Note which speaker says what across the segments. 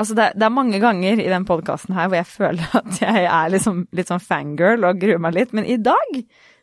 Speaker 1: Altså det, det er mange ganger i den podkasten her hvor jeg føler at jeg er liksom, litt sånn fangirl og gruer meg litt, men i dag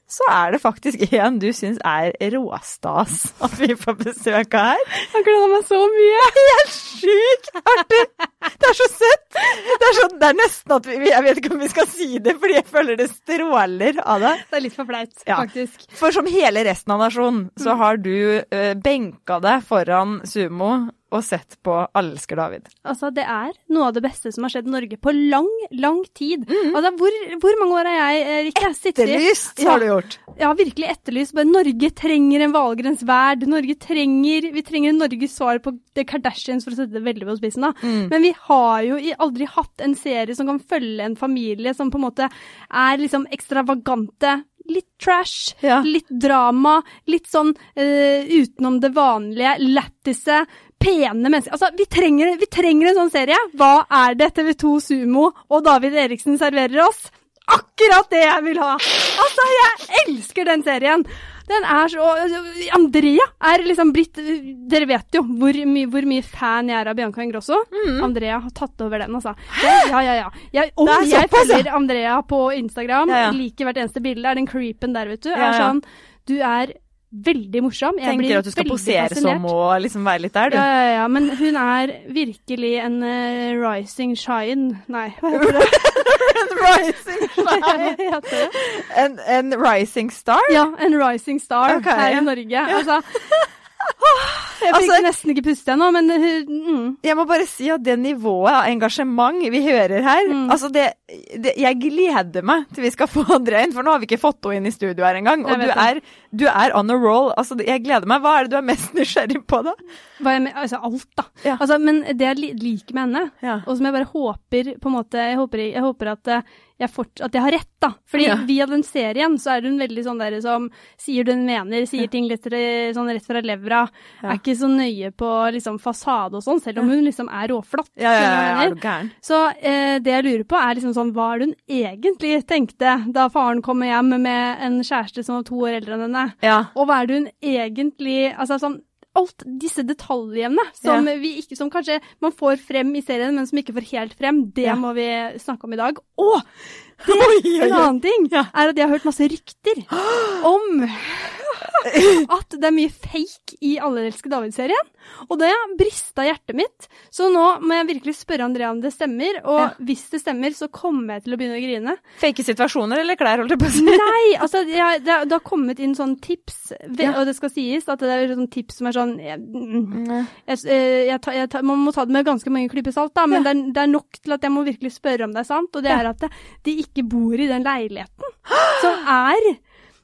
Speaker 1: så er det faktisk en du syns er råstas at vi får besøk av her.
Speaker 2: Jeg gleder meg så mye!
Speaker 1: Helt sjukt artig! Det er så søtt! Det er, sånn- det er nesten at vi Jeg vet ikke om vi skal si det, fordi jeg føler det stråler av det.
Speaker 2: Det er litt for flaut,
Speaker 1: Ja.
Speaker 2: faktisk.
Speaker 1: For som hele resten av nasjonen, så har du eh, benka deg foran sumo og sett på Elsker David.
Speaker 2: Altså, det er noe av det beste som har skjedd Norge på lang, lang tid. Altså, hvor, hvor mange år har jeg, eh, Rikke? sittet i-
Speaker 1: Etterlyst har du gjort.
Speaker 2: Jeg har virkelig etterlyst bare Norge trenger en Valgrens verd. Norge trenger Vi trenger Norges svar på The Kardashians, for å sette det veldig på spissen, da. Men vi har jo i- aldri hatt en serie som kan følge en familie som på en måte er liksom ekstravagante. Litt trash,
Speaker 1: Ja.
Speaker 2: litt drama, litt sånn eh, utenom det vanlige. Lættise. Pene mennesker. Altså, vi trenger, vi trenger en sånn serie. Hva er det TV2 Sumo og David Eriksen serverer oss? akkurat det jeg vil ha. Altså, jeg elsker den serien. Den er så Andrea er liksom blitt Dere vet jo hvor, my, hvor mye fan jeg er av Bianca Ingrosso. Andrea har tatt over den, altså. Det, ja, ja, ja. Jeg, om
Speaker 1: Mm. Det er
Speaker 2: jeg
Speaker 1: såpass, ja.
Speaker 2: følger Andrea på Instagram,
Speaker 1: Ja, ja.
Speaker 2: liker hvert eneste bilde, er den creepen der, vet du.
Speaker 1: Ja,
Speaker 2: Er
Speaker 1: ja.
Speaker 2: sånn Du er veldig morsom. Jeg blir
Speaker 1: Tenker at du skal
Speaker 2: veldig
Speaker 1: posere
Speaker 2: fascinert.
Speaker 1: som og liksom være litt der, du.
Speaker 2: Ja, ja, ja, men hun er virkelig en eh, rising shine Nei, hva heter det?
Speaker 1: En rising,
Speaker 2: Hva heter det?
Speaker 1: en, en rising star?
Speaker 2: Ja, en rising star
Speaker 1: Ok,
Speaker 2: her
Speaker 1: ja.
Speaker 2: i Norge. Altså, jeg fikk
Speaker 1: Altså-
Speaker 2: nesten ikke puste ennå, men hun- mm.
Speaker 1: Jeg må bare si at det nivået av engasjement vi hører her
Speaker 2: Mm.
Speaker 1: altså det, det, Jeg gleder meg til vi skal få Andrea inn, for nå har vi ikke fått henne inn i studio her engang.
Speaker 2: Jeg
Speaker 1: Og du
Speaker 2: vet
Speaker 1: er, du er on a roll. Altså, det- jeg gleder meg. Hva er det du er mest nysgjerrig på, da?
Speaker 2: hva jeg, men- altså alt, da.
Speaker 1: Ja.
Speaker 2: Altså, men det jeg li- liker med henne,
Speaker 1: Ja.
Speaker 2: og som jeg bare håper på en måte, Jeg håper, jeg håper at, eh, jeg fort, at jeg har rett, da. Fordi
Speaker 1: Ja.
Speaker 2: via den serien så er hun veldig sånn der som sier det hun mener, sier ting litt re- sånn rett fra levra.
Speaker 1: Ja.
Speaker 2: Er ikke så nøye på liksom fasade og sånn, selv om hun liksom er råflott.
Speaker 1: Ja, ja, ja,
Speaker 2: skjønner du hva jeg
Speaker 1: er
Speaker 2: mener?
Speaker 1: du gæren?
Speaker 2: Så eh, det jeg lurer på er liksom sånn, hva er det hun egentlig tenkte da faren kommer hjem med en kjæreste som var to år eldre enn henne?
Speaker 1: Ja.
Speaker 2: Og hva er det hun egentlig Altså sånn Alt disse detaljene som, vi ikke, som kanskje man får frem i serien, men som ikke får helt frem, det
Speaker 1: Ja.
Speaker 2: må vi snakke om i dag. Og
Speaker 1: Oi, oi,
Speaker 2: en
Speaker 1: oi.
Speaker 2: annen ting
Speaker 1: Ja.
Speaker 2: er at jeg har hørt masse rykter om at det er mye fake i Allerelske David-serien. Og det brista hjertet mitt. Så nå må jeg virkelig spørre Andrea om det stemmer. Og
Speaker 1: Ja.
Speaker 2: hvis det stemmer, så kommer jeg til å begynne å grine.
Speaker 1: Fake situasjoner eller klær, holdt jeg på å si.
Speaker 2: Nei, altså jeg, det, har- det har kommet inn sånn tips, ve-
Speaker 1: Ja.
Speaker 2: og det skal sies at det er sånn tips som er sånn jeg, mm, jeg, eh, jeg, ta- jeg, ta- Man må ta det med ganske mange klyper salt, da, men det, er, det er nok til at jeg må virkelig spørre om det er sant. Og det
Speaker 1: Ja.
Speaker 2: er at det, de ikke bor i den leiligheten som er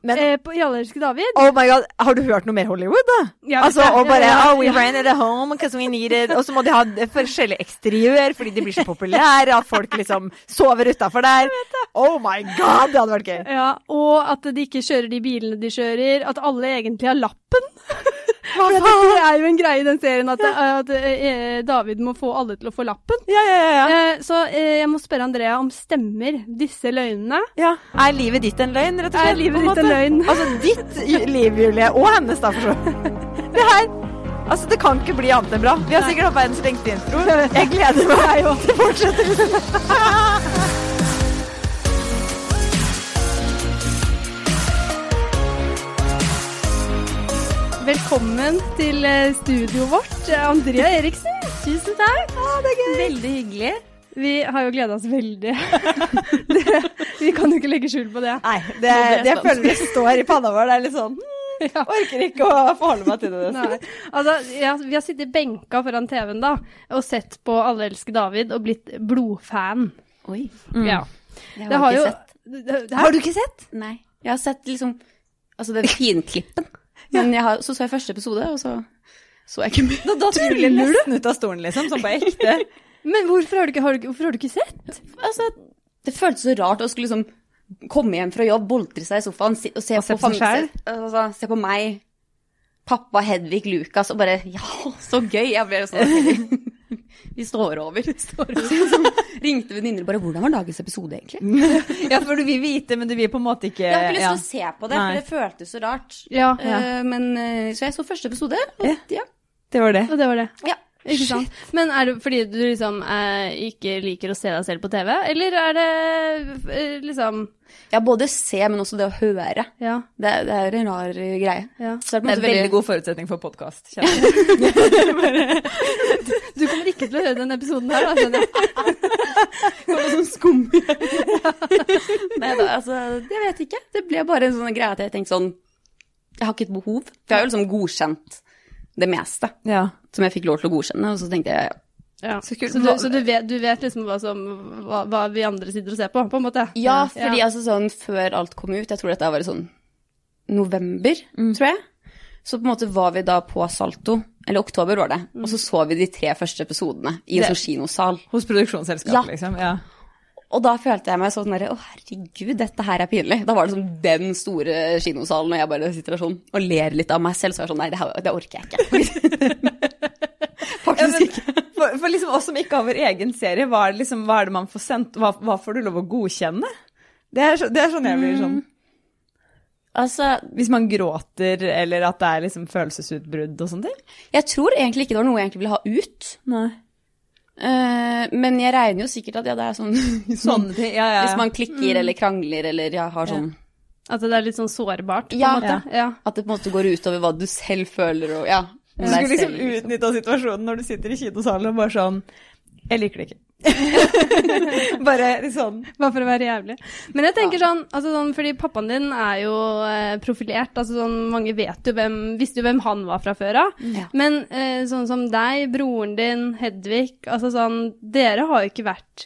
Speaker 1: Men-
Speaker 2: eh, på, i Allerske David.
Speaker 1: Oh my god, Har du hørt noe mer Hollywood, da?
Speaker 2: Ja,
Speaker 1: altså,
Speaker 2: ja,
Speaker 1: og
Speaker 2: ja,
Speaker 1: bare
Speaker 2: ja,
Speaker 1: oh, we
Speaker 2: ja.
Speaker 1: rented a home because we needed Og så må de ha d- forskjellig eksteriør fordi de blir så populære, at folk liksom sover utafor der. Oh my god, det hadde vært gøy.
Speaker 2: Ja, og at de ikke kjører de bilene de kjører. At alle egentlig har lappen. For at det er jo en greie i den serien at, at eh, David må få alle til å få lappen.
Speaker 1: Ja, ja, ja, ja.
Speaker 2: Eh, så eh, jeg må spørre Andrea om stemmer disse løgnene?
Speaker 1: ja. Er livet ditt en løgn, rett og slett?
Speaker 2: Er
Speaker 1: på
Speaker 2: livet ditt en
Speaker 1: måte?
Speaker 2: løgn?
Speaker 1: Altså ditt i- liv, Julie. Og hennes, da, for så vidt. Det her Altså, det kan ikke bli annet enn bra. Vi har sikkert hatt verdens lengste intro. Jeg gleder meg til fortsettelsen.
Speaker 2: Velkommen til eh, studioet vårt, eh, Andrea Eriksen. Tusen takk. Veldig hyggelig. Vi har jo gleda oss veldig. det, vi kan jo ikke legge skjul på det.
Speaker 1: Nei, det, det jeg føler det står i panna vår. Det er litt sånn hmm,
Speaker 2: Ja.
Speaker 1: Orker ikke å forholde meg til det.
Speaker 2: Nei. Altså, ja, vi har sittet benka foran TV-en da, og sett på Alle elsker David og blitt blodfan.
Speaker 3: Oi.
Speaker 2: Ja.
Speaker 3: Jeg Mm. har,
Speaker 2: Det har
Speaker 3: ikke
Speaker 2: jo
Speaker 3: sett.
Speaker 2: det- det-
Speaker 1: Har du ikke sett?
Speaker 3: Nei. Jeg har sett liksom Altså den finklippen. Men jeg har, så så jeg første episode, og så så jeg ikke mer.
Speaker 1: Da datt Julie nesten ut av stolen, liksom. Sånn på ekte.
Speaker 2: Men hvorfor har du ikke, har du, ikke- hvorfor har du ikke sett?
Speaker 3: Altså, det føltes så rart å skulle liksom komme hjem fra jobb, boltre seg i sofaen si, og se,
Speaker 1: Og se
Speaker 3: på,
Speaker 1: på seg
Speaker 3: familien- Altså, se på meg, pappa, Hedvig, Lukas, og bare Ja, så gøy! Jeg ble sånn Vi står over. Vi står over. Så liksom, ringte venninner og bare Hvordan var dagens episode, egentlig?
Speaker 1: Ja, for du vil vite, men du vil på en måte ikke
Speaker 3: Jeg har ikke lyst til å se på det,
Speaker 1: Nei.
Speaker 3: for det føltes så rart.
Speaker 2: Ja,
Speaker 3: Eh, men eh, Så jeg så første episode, og ja.
Speaker 1: Det var det.
Speaker 2: og det var det.
Speaker 3: ja.
Speaker 2: Ikke sant? Men er det fordi du liksom eh, ikke liker å se deg selv på TV, eller er det eh, liksom
Speaker 3: Ja, både se, men også det å høre.
Speaker 2: Ja.
Speaker 3: Det, er- det er en rar eh, greie.
Speaker 2: ja.
Speaker 3: Så
Speaker 1: Det er en veldig god forutsetning for podkast. Jeg
Speaker 2: Du kommer ikke til å høre den episoden her, da, skjønner jeg.
Speaker 3: sånn skum. Nei da, altså, jeg vet ikke. Det ble bare en sånn greie at jeg tenkte sånn Jeg har ikke et behov. For jeg har jo liksom godkjent det meste
Speaker 1: ja.
Speaker 3: som jeg fikk lov til å godkjenne, og så tenkte jeg
Speaker 2: Ja.
Speaker 1: Så kult.
Speaker 2: Så, du, så du, vet, du vet liksom hva, som, hva, hva vi andre sitter og ser på, på en måte?
Speaker 3: Ja, fordi altså sånn før alt kom ut, jeg tror dette var i sånn november, tror jeg. Så på en måte var vi da på Salto, eller oktober var det, og så så vi de tre første episodene i en
Speaker 1: Det-
Speaker 3: sånn kinosal.
Speaker 1: Hos produksjonsselskapet,
Speaker 3: Ja.
Speaker 1: liksom. Ja.
Speaker 3: Og da følte jeg meg sånn derre Å, herregud, dette her er pinlig. Da var det sånn den store kinosalen, og jeg bare sitter der sånn og ler litt av meg selv. Så er jeg sånn Nei, det, her, det orker jeg ikke.
Speaker 1: Ja,
Speaker 3: Faktisk
Speaker 1: men,
Speaker 3: ikke.
Speaker 1: for, for liksom oss som ikke har vår egen serie, hva er det, liksom, hva er det man får sendt? Hva, hva får du lov å godkjenne? Det er, så, det er sånn jeg blir sånn
Speaker 3: Altså,
Speaker 1: Hvis man gråter, eller at det er liksom følelsesutbrudd og sånne ting.
Speaker 3: jeg tror egentlig ikke det var noe jeg egentlig ville ha ut.
Speaker 1: Nei.
Speaker 3: eh, men jeg regner jo sikkert at ja, det er sånn hvis man,
Speaker 1: Sånne ting, ja, ja.
Speaker 3: hvis man
Speaker 1: Mm.
Speaker 3: klikker eller krangler eller ja, har sånn
Speaker 2: At det er litt sånn sårbart, på en
Speaker 3: Ja.
Speaker 2: måte? Ja.
Speaker 3: At det på en måte går utover hva du selv føler og ja.
Speaker 1: Du skulle liksom utnytta situasjonen når du sitter i kinosalen og bare sånn Jeg liker det ikke. bare sånn
Speaker 2: Bare for å være jævlig. Men jeg tenker sånn, altså sånn fordi pappaen din er jo eh, profilert. altså sånn, Mange vet jo hvem, visste jo hvem han var fra før av.
Speaker 3: Ja.
Speaker 2: Men eh, sånn som deg, broren din, Hedvig altså sånn, Dere har jo ikke vært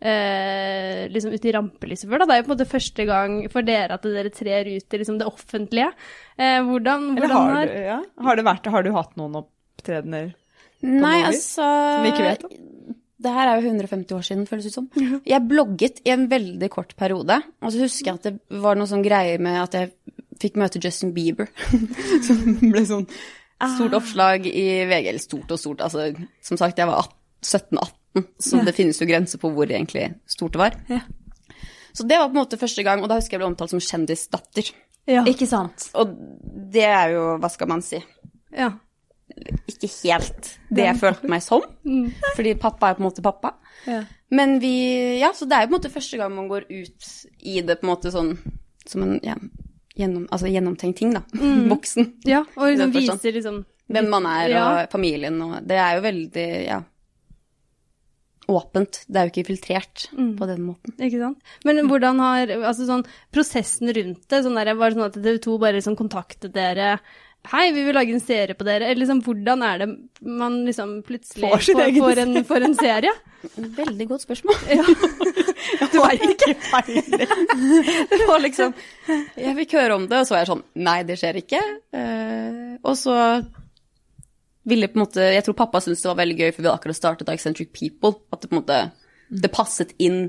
Speaker 2: eh, liksom ute i rampelyset før. da, Det er jo på en måte første gang for dere at dere trer ut i liksom, det offentlige. Eh, hvordan,
Speaker 1: Eller
Speaker 2: hvordan
Speaker 1: har du, ja? har, det vært, har du hatt noen opptredener?
Speaker 3: Nei,
Speaker 1: noe vis,
Speaker 3: altså
Speaker 1: vi ikke vet
Speaker 3: Det her er jo 150 år siden, føles det ut som. Jeg blogget i en veldig kort periode, og så husker jeg at det var noe sånn greie med at jeg fikk møte Justin Bieber. Som ble sånn
Speaker 1: Ah.
Speaker 3: stort oppslag i VG. Eller stort og stort, altså som sagt, jeg var 17-18, så det finnes jo grenser på hvor egentlig stort det var. Så det var på en måte første gang, og da husker jeg ble omtalt som kjendisdatter.
Speaker 2: Ja.
Speaker 1: Ikke sant.
Speaker 3: Og det er jo, hva skal man si,
Speaker 2: ja.
Speaker 3: ikke helt det jeg følte meg som. Fordi pappa er på en måte pappa.
Speaker 2: Ja.
Speaker 3: Men vi Ja, så det er jo på en måte første gang man går ut i det på en måte sånn som en ja, gjennom, altså gjennomtenkt ting, da. Voksen.
Speaker 2: ja. Og liksom
Speaker 3: Den forstand.
Speaker 2: viser liksom
Speaker 3: Hvem man er
Speaker 2: Ja.
Speaker 3: og familien og Det er jo veldig, ja Åpent. Det er jo ikke filtrert på den måten.
Speaker 2: Ikke sant? Men hvordan har altså sånn, prosessen rundt det sånn der, Var det sånn at TV 2 bare liksom kontaktet dere? Hei, vi vil lage en serie på dere. Eller liksom, hvordan er det man liksom plutselig
Speaker 1: Får sin egen
Speaker 2: får, en, får en serie?
Speaker 3: Veldig godt spørsmål.
Speaker 1: Du har ikke feil.
Speaker 3: Det var liksom Jeg fikk høre om det, og så var jeg sånn Nei, det skjer ikke. Eh, og så ville på en måte Jeg tror pappa syntes det var veldig gøy, for vi hadde akkurat startet av Eccentric People. At det på en måte Det passet inn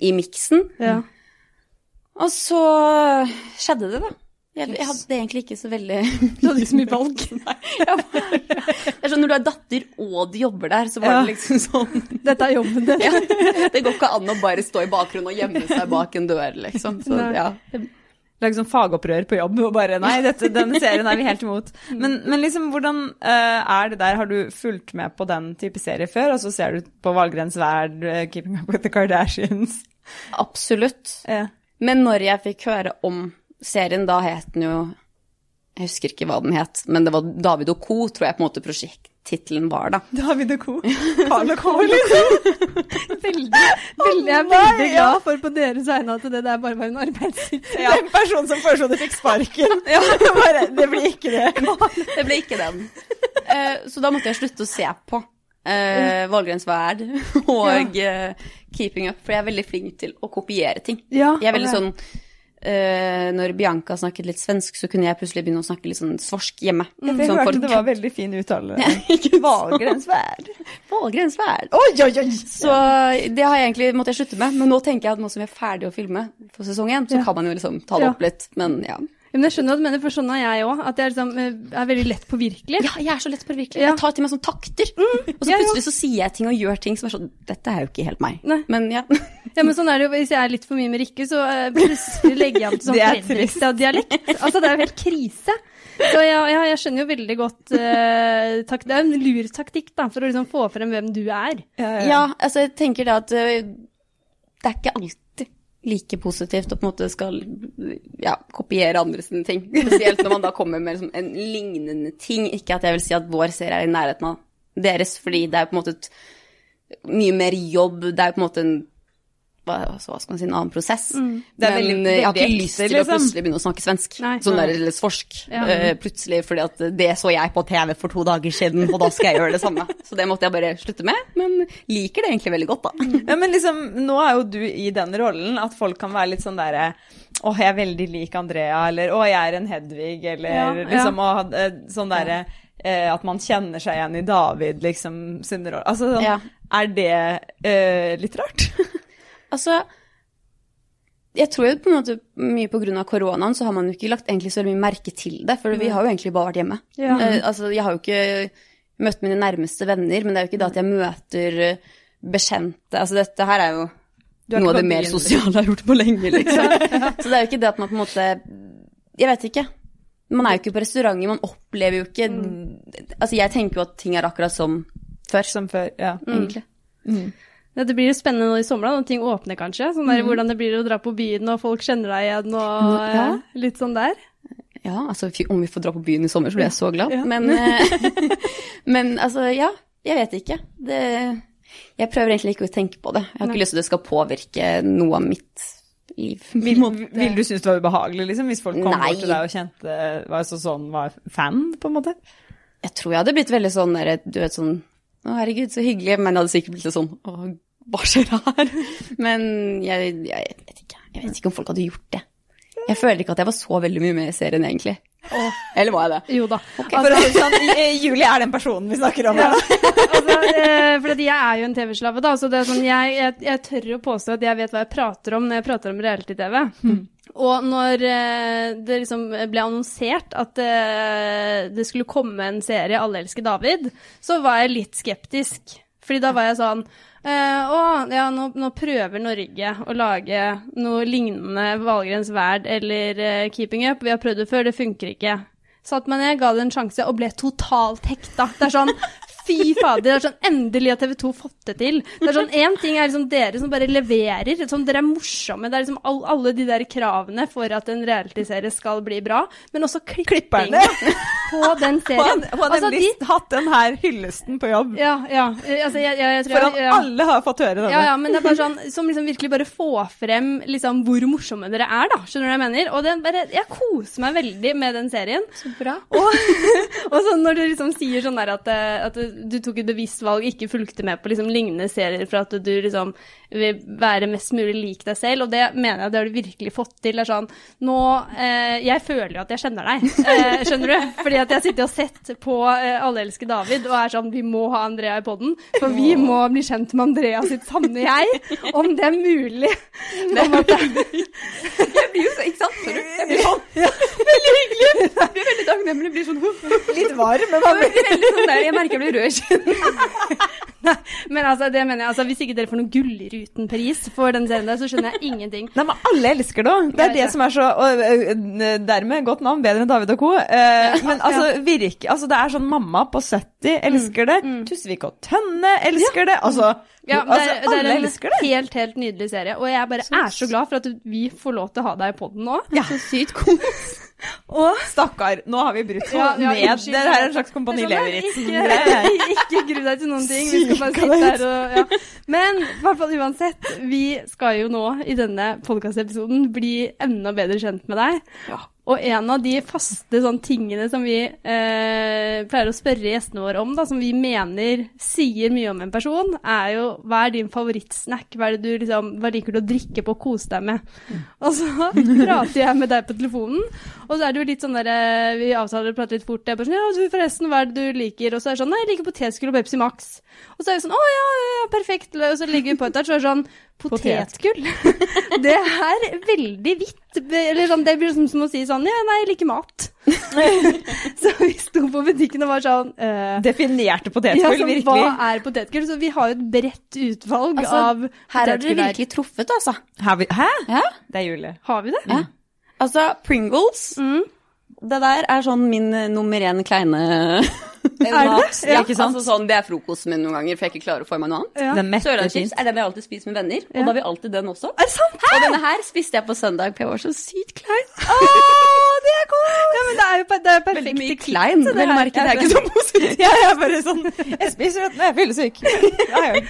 Speaker 3: i miksen.
Speaker 2: Ja.
Speaker 3: Og så skjedde det, da. Jeg, jeg hadde egentlig ikke så veldig
Speaker 2: Du hadde ikke så mye valg.
Speaker 3: Det er sånn når du er datter og du jobber der, så var
Speaker 1: Ja.
Speaker 3: det liksom sånn
Speaker 2: Dette er jobben din.
Speaker 3: ja, Det går ikke an å bare stå i bakgrunnen og gjemme seg bak en dør, liksom. Så
Speaker 2: Nei.
Speaker 3: ja.
Speaker 1: Lag sånn fagopprør på jobb og bare Nei, dette, denne serien er vi helt imot. Men, men liksom, hvordan eh, er det der? Har du fulgt med på den type serie før? Og så ser du på Valgrens verd, eh, Keeping Up With The Kardashians.
Speaker 3: Absolutt.
Speaker 1: Eh,
Speaker 3: Men når jeg fikk høre om serien, da het den jo Jeg husker ikke hva den het, men det var David og co., tror jeg på en måte prosjekttittelen var, da.
Speaker 1: David og co. Carl og co. liksom.
Speaker 2: Veldig, veldig, jeg er
Speaker 1: nei,
Speaker 2: veldig
Speaker 1: ja.
Speaker 2: glad for på deres vegne at det der bare var en arbeidssitting.
Speaker 1: Ja. Den personen som foreslo det fikk sparken. Bare, det blir ikke det.
Speaker 3: Det ble ikke den. Eh, så da måtte jeg slutte å se på uh, Valgrens verd og eh, Keeping Up, for jeg er veldig flink til å kopiere ting.
Speaker 2: Ja,
Speaker 3: Jeg er veldig
Speaker 2: ok.
Speaker 3: sånn eh, Når Bianca snakket litt svensk, så kunne jeg plutselig begynne å snakke litt sånn svorsk hjemme.
Speaker 1: Jeg
Speaker 3: Sånn
Speaker 1: hørte
Speaker 3: for-
Speaker 1: det var veldig fin uttale.
Speaker 3: Ikke
Speaker 1: Valgrens verd.
Speaker 3: Valgrens verd.
Speaker 1: Oi, oi, oi!
Speaker 3: Så det har jeg egentlig måtte jeg slutte med, men nå tenker jeg at nå som vi er ferdig å filme for sesong én, så
Speaker 2: Ja.
Speaker 3: kan man jo liksom ta det opp litt, men ja.
Speaker 2: Men jeg skjønner hva du mener, for sånn er jeg òg. At jeg er, liksom, eh, er veldig lett påvirkelig.
Speaker 3: Ja, jeg er så lett påvirkelig.
Speaker 2: Ja.
Speaker 3: Jeg tar til meg sånn takter, og så
Speaker 2: jeg
Speaker 3: plutselig så sier jeg ting og gjør ting som er sånn Dette er jo ikke helt meg.
Speaker 2: Nei.
Speaker 3: Men ja.
Speaker 2: Ja, men sånn er det jo. Hvis jeg er litt for mye med Rikke, så eh, plutselig legger jeg an til sånn
Speaker 1: Det er trist.
Speaker 2: Fredrikstad-dialekt. Altså, det er jo helt krise. Så ja, ja, jeg skjønner jo veldig godt eh, tak, Det er en lur taktikk da, for å liksom få frem hvem du er.
Speaker 3: Ja, altså jeg tenker det at øh, det er ikke alltid like positivt å på en måte skal ja, kopiere andres ting. Spesielt når man da kommer med liksom en lignende ting. Ikke at jeg vil si at vår serie er i nærheten av deres, fordi det er på en måte et mye mer jobb. Det er jo på en måte en hva, altså, hva skal man si, en annen prosess.
Speaker 1: Det er
Speaker 3: Men
Speaker 1: veldig-
Speaker 3: øh, jeg har
Speaker 1: veldig
Speaker 3: ikke lyst
Speaker 1: ekte,
Speaker 3: til å
Speaker 1: liksom.
Speaker 3: plutselig begynne å snakke svensk.
Speaker 2: Nei.
Speaker 3: sånn der, eller svorsk.
Speaker 2: Ja.
Speaker 3: øh, plutselig, fordi at det så jeg på TV for to dager siden, og da skal jeg gjøre det samme. Så det måtte jeg bare slutte med, men liker det egentlig veldig godt, da.
Speaker 1: Ja, men liksom, nå er jo du i den rollen at folk kan være litt sånn derre Åh, jeg er veldig lik Andrea, eller åh, jeg er en Hedvig, eller
Speaker 2: Ja, ja.
Speaker 1: liksom «Åh, eh, sånn derre eh, At man kjenner seg igjen i David, liksom, sin rolle. Altså sånn,
Speaker 3: Ja.
Speaker 1: er det eh, litt rart?
Speaker 3: Altså, jeg tror jo på en måte mye på grunn av koronaen, så har man jo ikke lagt egentlig så veldig mye merke til det, for vi har jo egentlig bare vært hjemme.
Speaker 2: Ja.
Speaker 3: Eh, altså, jeg har jo ikke møtt mine nærmeste venner, men det er jo ikke det at jeg møter eh, bekjente. Altså, dette her er jo
Speaker 1: er
Speaker 3: noe
Speaker 1: ikke
Speaker 3: av det
Speaker 1: på
Speaker 3: mer
Speaker 1: byen.
Speaker 3: sosiale jeg har gjort på lenge, liksom. Så det er jo ikke det at man på en måte Jeg vet ikke. Man er jo ikke på restauranter, man opplever jo ikke Altså, jeg tenker jo at ting er akkurat som før,
Speaker 1: Som før, ja.
Speaker 3: egentlig.
Speaker 2: Ja, det blir jo spennende nå i sommer, da, når ting åpner kanskje. Sånn der, Hvordan det blir å dra på byen, og folk kjenner deg igjen, og eh,
Speaker 3: Ja.
Speaker 2: litt sånn der.
Speaker 3: Ja, altså fy- om vi får dra på byen i sommer, så blir jeg så glad.
Speaker 1: Ja.
Speaker 3: Men, eh, men altså, ja. Jeg vet ikke. Det, jeg prøver egentlig ikke å tenke på det. Jeg har ikke lyst til at det skal påvirke noe av mitt liv. eh,
Speaker 1: Vil, vil du synes det var ubehagelig, liksom, hvis folk kom
Speaker 3: Nei.
Speaker 1: bort til deg og kjente var så sånn, var fan, på en måte?
Speaker 3: Jeg tror jeg hadde blitt veldig sånn der, du vet sånn Å, herregud, så hyggelig. Men jeg hadde sikkert blitt litt sånn Å, hva skjer her? Men jeg, jeg vet ikke. Jeg vet ikke om folk hadde gjort det. Jeg føler ikke at jeg var så veldig mye med i serien, egentlig. Eller var jeg det?
Speaker 2: Jo da.
Speaker 1: For å si det sånn, eh, Julie er den personen vi snakker om. her.
Speaker 2: altså, eh, for at jeg er jo en TV-slave, da. Så det er sånn, jeg, jeg, jeg tør å påstå at jeg vet hva jeg prater om når jeg prater om reality-TV. Og når eh, det liksom ble annonsert at eh, det skulle komme en serie 'Alle elsker David', så var jeg litt skeptisk. Fordi da var jeg sånn eh, Å, ja, nå, nå prøver Norge å lage noe lignende Valgrens verd eller eh, Keeping Up. Vi har prøvd det før, det funker ikke. Satt meg ned, ga det en sjanse og ble totalt hekta. Det er sånn Fy fader, det er sånn endelig har TV 2 fått det til. Det er sånn Én ting er liksom dere som bare leverer, sånn dere er morsomme. Det er liksom all, alle de der kravene for at en realityserie skal bli bra, men også klippinga på den
Speaker 1: Hun
Speaker 2: serien.
Speaker 1: har
Speaker 2: Altså, de,
Speaker 1: nemlig hatt den her hyllesten på jobb.
Speaker 2: ja, ja. eh, Altså, jeg, jeg, jeg tror
Speaker 1: Foran
Speaker 2: jeg, ja.
Speaker 1: alle har fått høre denne.
Speaker 2: Ja, ja, men det er bare sånn som liksom virkelig bare får frem liksom hvor morsomme dere er, da. Skjønner du hva jeg mener? Og det er bare, jeg koser meg veldig med den serien.
Speaker 3: Så bra.
Speaker 2: Og sånn når du liksom sier sånn der at, eh, at du tok et bevisst valg, ikke fulgte med på liksom lignende serier for at du liksom vil være mest mulig lik deg selv, og det mener jeg det har du virkelig fått til. Det er sånn Nå eh, Jeg føler jo at jeg kjenner deg, eh, skjønner du? Fordi at jeg sitter og sett på eh, Alle elsker David og er sånn Vi må ha Andrea i poden, for vi må bli kjent med Andrea sitt sanne jeg, om det er mulig. På en måte.
Speaker 3: Jeg blir jo så, ikke sant? Sorry. Jeg blir sånn. Veldig hyggelig. Jeg blir veldig takknemlig. Jeg Blir sånn,
Speaker 1: Litt varm, men man blir
Speaker 3: Jeg blir veldig
Speaker 2: liksom
Speaker 3: sånn der, jeg merker jeg blir rød i kjønn.
Speaker 2: Men altså, det mener jeg, altså, hvis ikke dere får noen Gullruten-pris for den serien der, så skjønner jeg ingenting.
Speaker 1: Nei, men alle elsker det. Det
Speaker 2: Ja,
Speaker 1: er det
Speaker 2: ja.
Speaker 1: som er så og, ø, ø, Dermed godt navn, bedre enn David og co. Eh, Men altså, virke, altså, det er sånn mamma på 70
Speaker 2: Mm,
Speaker 1: elsker det. Tusvik og Tønne elsker det. Altså,
Speaker 2: Ja, det,
Speaker 1: altså
Speaker 2: er, det er
Speaker 1: alle
Speaker 2: en
Speaker 1: elsker det.
Speaker 2: helt, helt nydelig serie. Og jeg bare er så glad for at vi får lov til å ha deg i poden nå.
Speaker 1: Ja.
Speaker 2: Så sykt kos. Og
Speaker 1: Stakkar, nå har vi brutt henne
Speaker 2: Ja, ja,
Speaker 1: ned.
Speaker 2: unnskyld.
Speaker 1: Det her er en slags Kompani
Speaker 2: Det er sånn,
Speaker 1: Leveritz.
Speaker 2: Ikke, ikke gru deg til noen ting. Vi skal bare sitte her og ja. Men i hvert fall uansett, vi skal jo nå i denne podkastepisoden bli enda bedre kjent med deg. Og en av de faste sånn, tingene som vi eh, pleier å spørre gjestene våre om, da, som vi mener sier mye om en person, er jo hva er din favorittsnack? Hva, er det du, liksom, hva liker du å drikke på og kose deg med? Og så prater jeg med deg på telefonen, og så er det jo litt sånn der eh, Vi avtaler og prater litt fort. Jeg bare sånn Ja, du, forresten, hva er det du liker? Og så er det sånn Nei, jeg liker potetgull og Pepsi Max. Og så er vi sånn Å ja, ja, ja, perfekt. Og så legger vi på et der, så er det sånn Potetgull? det er veldig vidt. Eller sånn, det blir sånn som å si sånn Ja, nei, jeg liker mat. så vi sto på butikken og var sånn eh,
Speaker 1: Definerte
Speaker 2: ja,
Speaker 1: potetgull,
Speaker 2: sånn, hva
Speaker 1: virkelig.
Speaker 2: er potetgull? Så vi har jo et bredt utvalg
Speaker 3: Altså,
Speaker 2: av
Speaker 3: Her har dere
Speaker 2: potetgull her.
Speaker 3: virkelig truffet, altså.
Speaker 1: Har vi- Hæ?
Speaker 3: Ja.
Speaker 1: Det er Julie.
Speaker 2: Har vi det?
Speaker 3: Altså, Pringles det der er sånn min eh, nummer én kleine mat.
Speaker 2: det?
Speaker 3: Ja,
Speaker 1: Ikke sant?
Speaker 3: Altså sånn, det er frokosten min noen ganger, for jeg ikke klarer å få i meg noe annet.
Speaker 2: Ja.
Speaker 1: Den metter
Speaker 3: Sørlandschips
Speaker 1: fint.
Speaker 3: er den jeg alltid spiser med venner,
Speaker 2: Ja.
Speaker 3: og da har vi alltid den også.
Speaker 2: Er det sant?
Speaker 3: Ah! Og denne her spiste jeg på søndag, for jeg var så sykt klein.
Speaker 2: Å, det er godt! Ja, men det er jo, per- det er jo
Speaker 3: Veldig
Speaker 2: perfekt.
Speaker 3: mye klein,
Speaker 2: det
Speaker 3: vel å
Speaker 2: her.
Speaker 3: merke. Det
Speaker 1: Jeg
Speaker 3: er ikke så positivt.
Speaker 1: Ja, jeg er bare sånn Jeg spiser vet du, når jeg er fyllesyk. Ja, ja.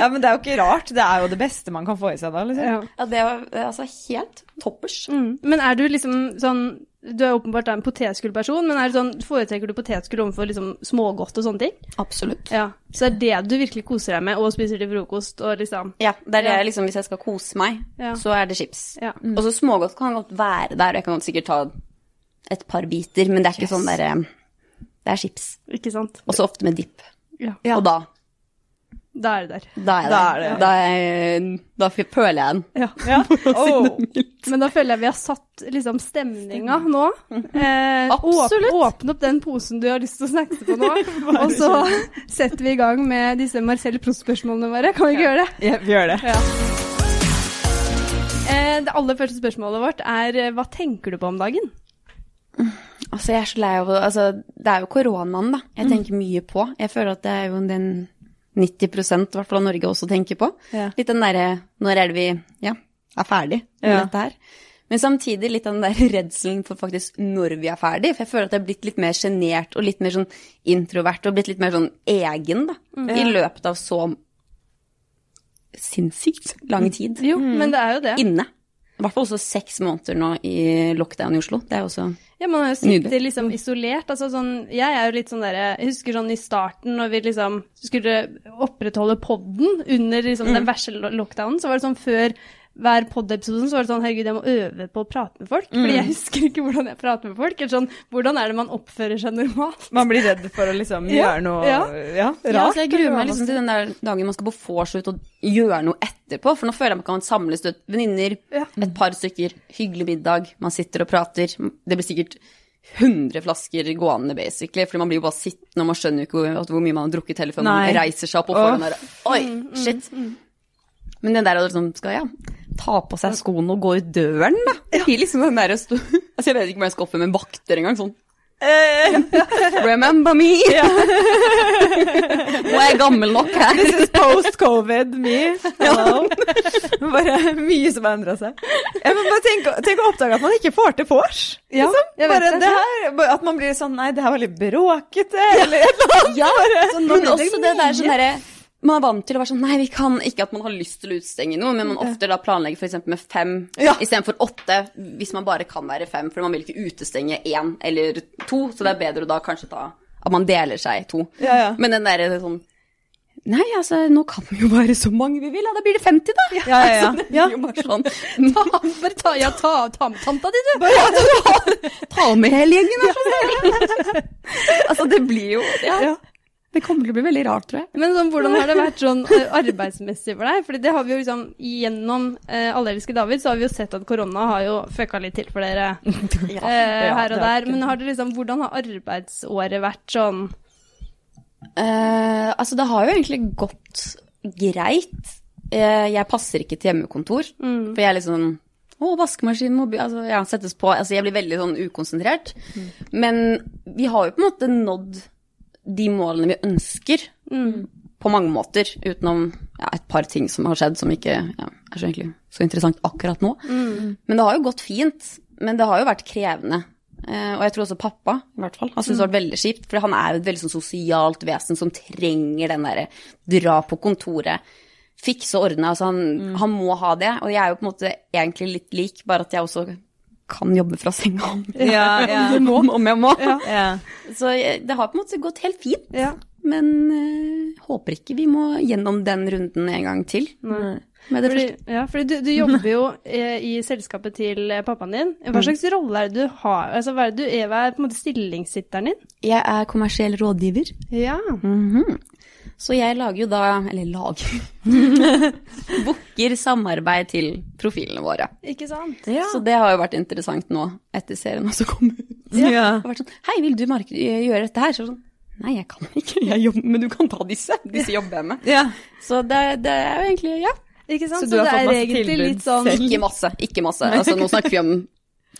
Speaker 1: ja, men det er jo ikke rart. Det er jo det beste man kan få i seg da, liksom.
Speaker 2: Ja.
Speaker 3: Ja, det var eh, altså helt toppers.
Speaker 2: Mm. Men er du liksom sånn Du er åpenbart da en potetskullperson, men er det sånn, foretrekker du potetskull overfor liksom smågodt og sånne ting?
Speaker 3: Absolutt.
Speaker 2: Ja. Så det er det du virkelig koser deg med, og spiser til frokost og liksom
Speaker 3: Ja, det er det
Speaker 2: Ja.
Speaker 3: jeg liksom, hvis jeg skal kose meg,
Speaker 2: Ja.
Speaker 3: så er det chips. Mm.
Speaker 2: Ja.
Speaker 3: Og så smågodt kan godt være der, og jeg kan godt sikkert ta et par biter, men det er ikke sånn der eh, Det er chips.
Speaker 2: Ikke sant?
Speaker 3: Og så ofte med dipp.
Speaker 2: Ja.
Speaker 3: Og da,
Speaker 2: Da er det der.
Speaker 3: da er jeg
Speaker 1: Da
Speaker 3: der.
Speaker 1: er det.
Speaker 3: Da, er- da f- føler jeg den.
Speaker 2: Ja.
Speaker 1: Ja. Oh. Åh.
Speaker 2: Oh. Men da føler jeg vi har satt liksom stemninga nå. Eh,
Speaker 3: Absolutt.
Speaker 2: Åp, åpne opp den posen du har lyst til å snakke på nå, og så setter vi i gang med disse Marcel Proust-spørsmålene våre. Kan vi ikke gjøre det?
Speaker 1: Ja, vi gjør det.
Speaker 2: Eh, det aller første spørsmålet vårt er eh, hva tenker du på om dagen?
Speaker 3: Altså, jeg er så lei av å Altså, det er jo koronaen, da.
Speaker 1: Mm.
Speaker 3: Jeg tenker mye på. Jeg føler at det er jo den 90 i hvert fall av Norge også tenker på.
Speaker 1: Ja.
Speaker 3: Litt den derre Når er det vi ja, er ferdig med
Speaker 1: Ja.
Speaker 3: dette her? Men samtidig litt den der redselen for faktisk når vi er ferdig. For jeg føler at jeg er blitt litt mer sjenert og litt mer sånn introvert og blitt litt mer sånn egen, da.
Speaker 1: Mm.
Speaker 3: I løpet av så sinnssykt
Speaker 1: Mm.
Speaker 3: lang tid
Speaker 2: Jo, men det er jo det.
Speaker 3: inne. I hvert fall også seks måneder nå i lockdown i Oslo. Det er jo også
Speaker 2: Ja, man har jo sittet
Speaker 3: Nydelig.
Speaker 2: liksom isolert. Altså sånn, jeg er jo litt sånn derre Jeg husker sånn i starten når vi liksom skulle opprettholde podden under liksom den verste lo- lockdownen, så var det sånn før hver pod-episode så var det sånn herregud, jeg må øve på å prate med folk. Fordi jeg husker ikke hvordan jeg prater med folk. Eller sånn, hvordan er det man oppfører seg normalt?
Speaker 1: Man blir redd for å liksom
Speaker 2: Ja,
Speaker 1: gjøre noe
Speaker 2: ja.
Speaker 1: ja,
Speaker 3: Ja,
Speaker 1: rart.
Speaker 3: så jeg gruer meg liksom til den der dagen man skal på vorshoot og gjøre noe etterpå. For nå føler jeg man kan samles ut venninner,
Speaker 2: Ja.
Speaker 3: et par stykker, hyggelig middag, man sitter og prater. Det blir sikkert 100 flasker gående, basically, fordi man blir jo bare sittende, og man skjønner jo ikke hvor, at hvor mye man har drukket heller, før
Speaker 1: Nei.
Speaker 3: man reiser seg opp og får den der Oi, shit. Men den der å liksom skal, ja, ta på seg skoene og gå ut døren, da. Det blir liksom den der å stå Altså, jeg vet ikke om jeg skal opp med vakter engang, sånn
Speaker 1: Eh,
Speaker 3: Remember me! Nå er jeg gammel nok her.
Speaker 1: This is post covid me. Hello. Bare mye som har endra seg. Ja, men bare tenk, å- tenk å oppdage at man ikke får til vors.
Speaker 2: Ja,
Speaker 1: liksom.
Speaker 2: jeg vet
Speaker 1: bare
Speaker 2: det.
Speaker 1: det. her, bare at man blir sånn Nei, det her var litt bråkete, eller et eller annet.
Speaker 3: Ja,
Speaker 1: Bare-
Speaker 3: men også det der sånn derre man er vant til å være sånn Nei, vi kan ikke at man har lyst til å utestenge noe, men man ofte da planlegger f.eks. med fem
Speaker 1: Ja.
Speaker 3: istedenfor åtte, hvis man bare kan være fem, for man vil ikke utestenge én eller to, så det er bedre å da kanskje ta at man deler seg i to.
Speaker 1: Ja, ja.
Speaker 3: Men den derre sånn Nei, altså, nå kan vi jo være så mange vi vil, ja, da blir det 50, da.
Speaker 1: Ja, ja, ja.
Speaker 3: Altså, det blir
Speaker 1: Ja.
Speaker 3: jo bare sånn Ta,
Speaker 2: Bare ta, ja, ta, ta med tanta di, du.
Speaker 3: ta med hele gjengen, vær så snill! altså, det blir jo ja.
Speaker 1: Ja.
Speaker 3: Det kommer til å bli veldig rart, tror jeg.
Speaker 2: Men sånn, hvordan har det vært sånn eh, arbeidsmessig for deg? Fordi det har vi jo liksom gjennom eh, Allelske David, så har vi jo sett at korona har jo fucka litt til for dere eh, her
Speaker 1: det
Speaker 2: og
Speaker 1: har
Speaker 2: der. Men har det liksom, hvordan har arbeidsåret vært sånn?
Speaker 3: Eh, altså, det har jo egentlig gått greit. Eh, jeg passer ikke til hjemmekontor, for jeg er litt sånn Å, vaskemaskin, mobil Altså, ja, settes på. Altså, jeg blir veldig sånn ukonsentrert. Men vi har jo på en måte nådd de målene vi ønsker, på mange måter. Utenom ja, et par ting som har skjedd som ikke ja, er så, egentlig, så interessant akkurat nå. Men det har jo gått fint. Men det har jo vært krevende. Eh, og jeg tror også pappa, i hvert fall, han syntes det har vært veldig kjipt. For han er jo et veldig sånn sosialt vesen som trenger den derre dra på kontoret, fikse og ordne. Altså han,
Speaker 1: Mm.
Speaker 3: han må ha det. Og jeg er jo på en måte egentlig litt lik, bare at jeg også kan jobbe fra senga om,
Speaker 1: Ja, ja.
Speaker 3: om, om jeg må.
Speaker 1: ja.
Speaker 3: Så jeg, det har på en måte gått helt fint.
Speaker 2: Ja.
Speaker 3: Men eh, håper ikke vi må gjennom den runden en gang til. Med det
Speaker 2: Fordi,
Speaker 3: første.
Speaker 2: ja, fordi du, du jobber jo eh, i selskapet til eh, pappaen din.
Speaker 1: Mm.
Speaker 2: Hva slags rolle er det du har? Altså, hva er det du er, hva er på en måte stillingssitteren din?
Speaker 3: Jeg er kommersiell rådgiver.
Speaker 2: Ja.
Speaker 3: Mhm. Så jeg lager jo da Eller lager Booker samarbeid til profilene våre.
Speaker 2: Ikke sant?
Speaker 1: Ja.
Speaker 3: Så det har jo vært interessant nå, etter serien også kom ut. Det
Speaker 1: Ja.
Speaker 3: har vært sånn Hei, vil du mark gjøre dette her? Så er det sånn Nei, jeg kan ikke. Jeg jobber, men du kan ta disse. Disse jobber jeg med.
Speaker 1: Ja.
Speaker 3: Så det, det er jo egentlig Ja.
Speaker 2: Ikke sant?
Speaker 1: Så du har
Speaker 2: det
Speaker 1: fått
Speaker 2: er
Speaker 1: masse
Speaker 2: egentlig
Speaker 1: tilbud
Speaker 2: litt sånn
Speaker 1: selv?
Speaker 3: Ikke masse. Ikke masse. Altså, nå snakker vi om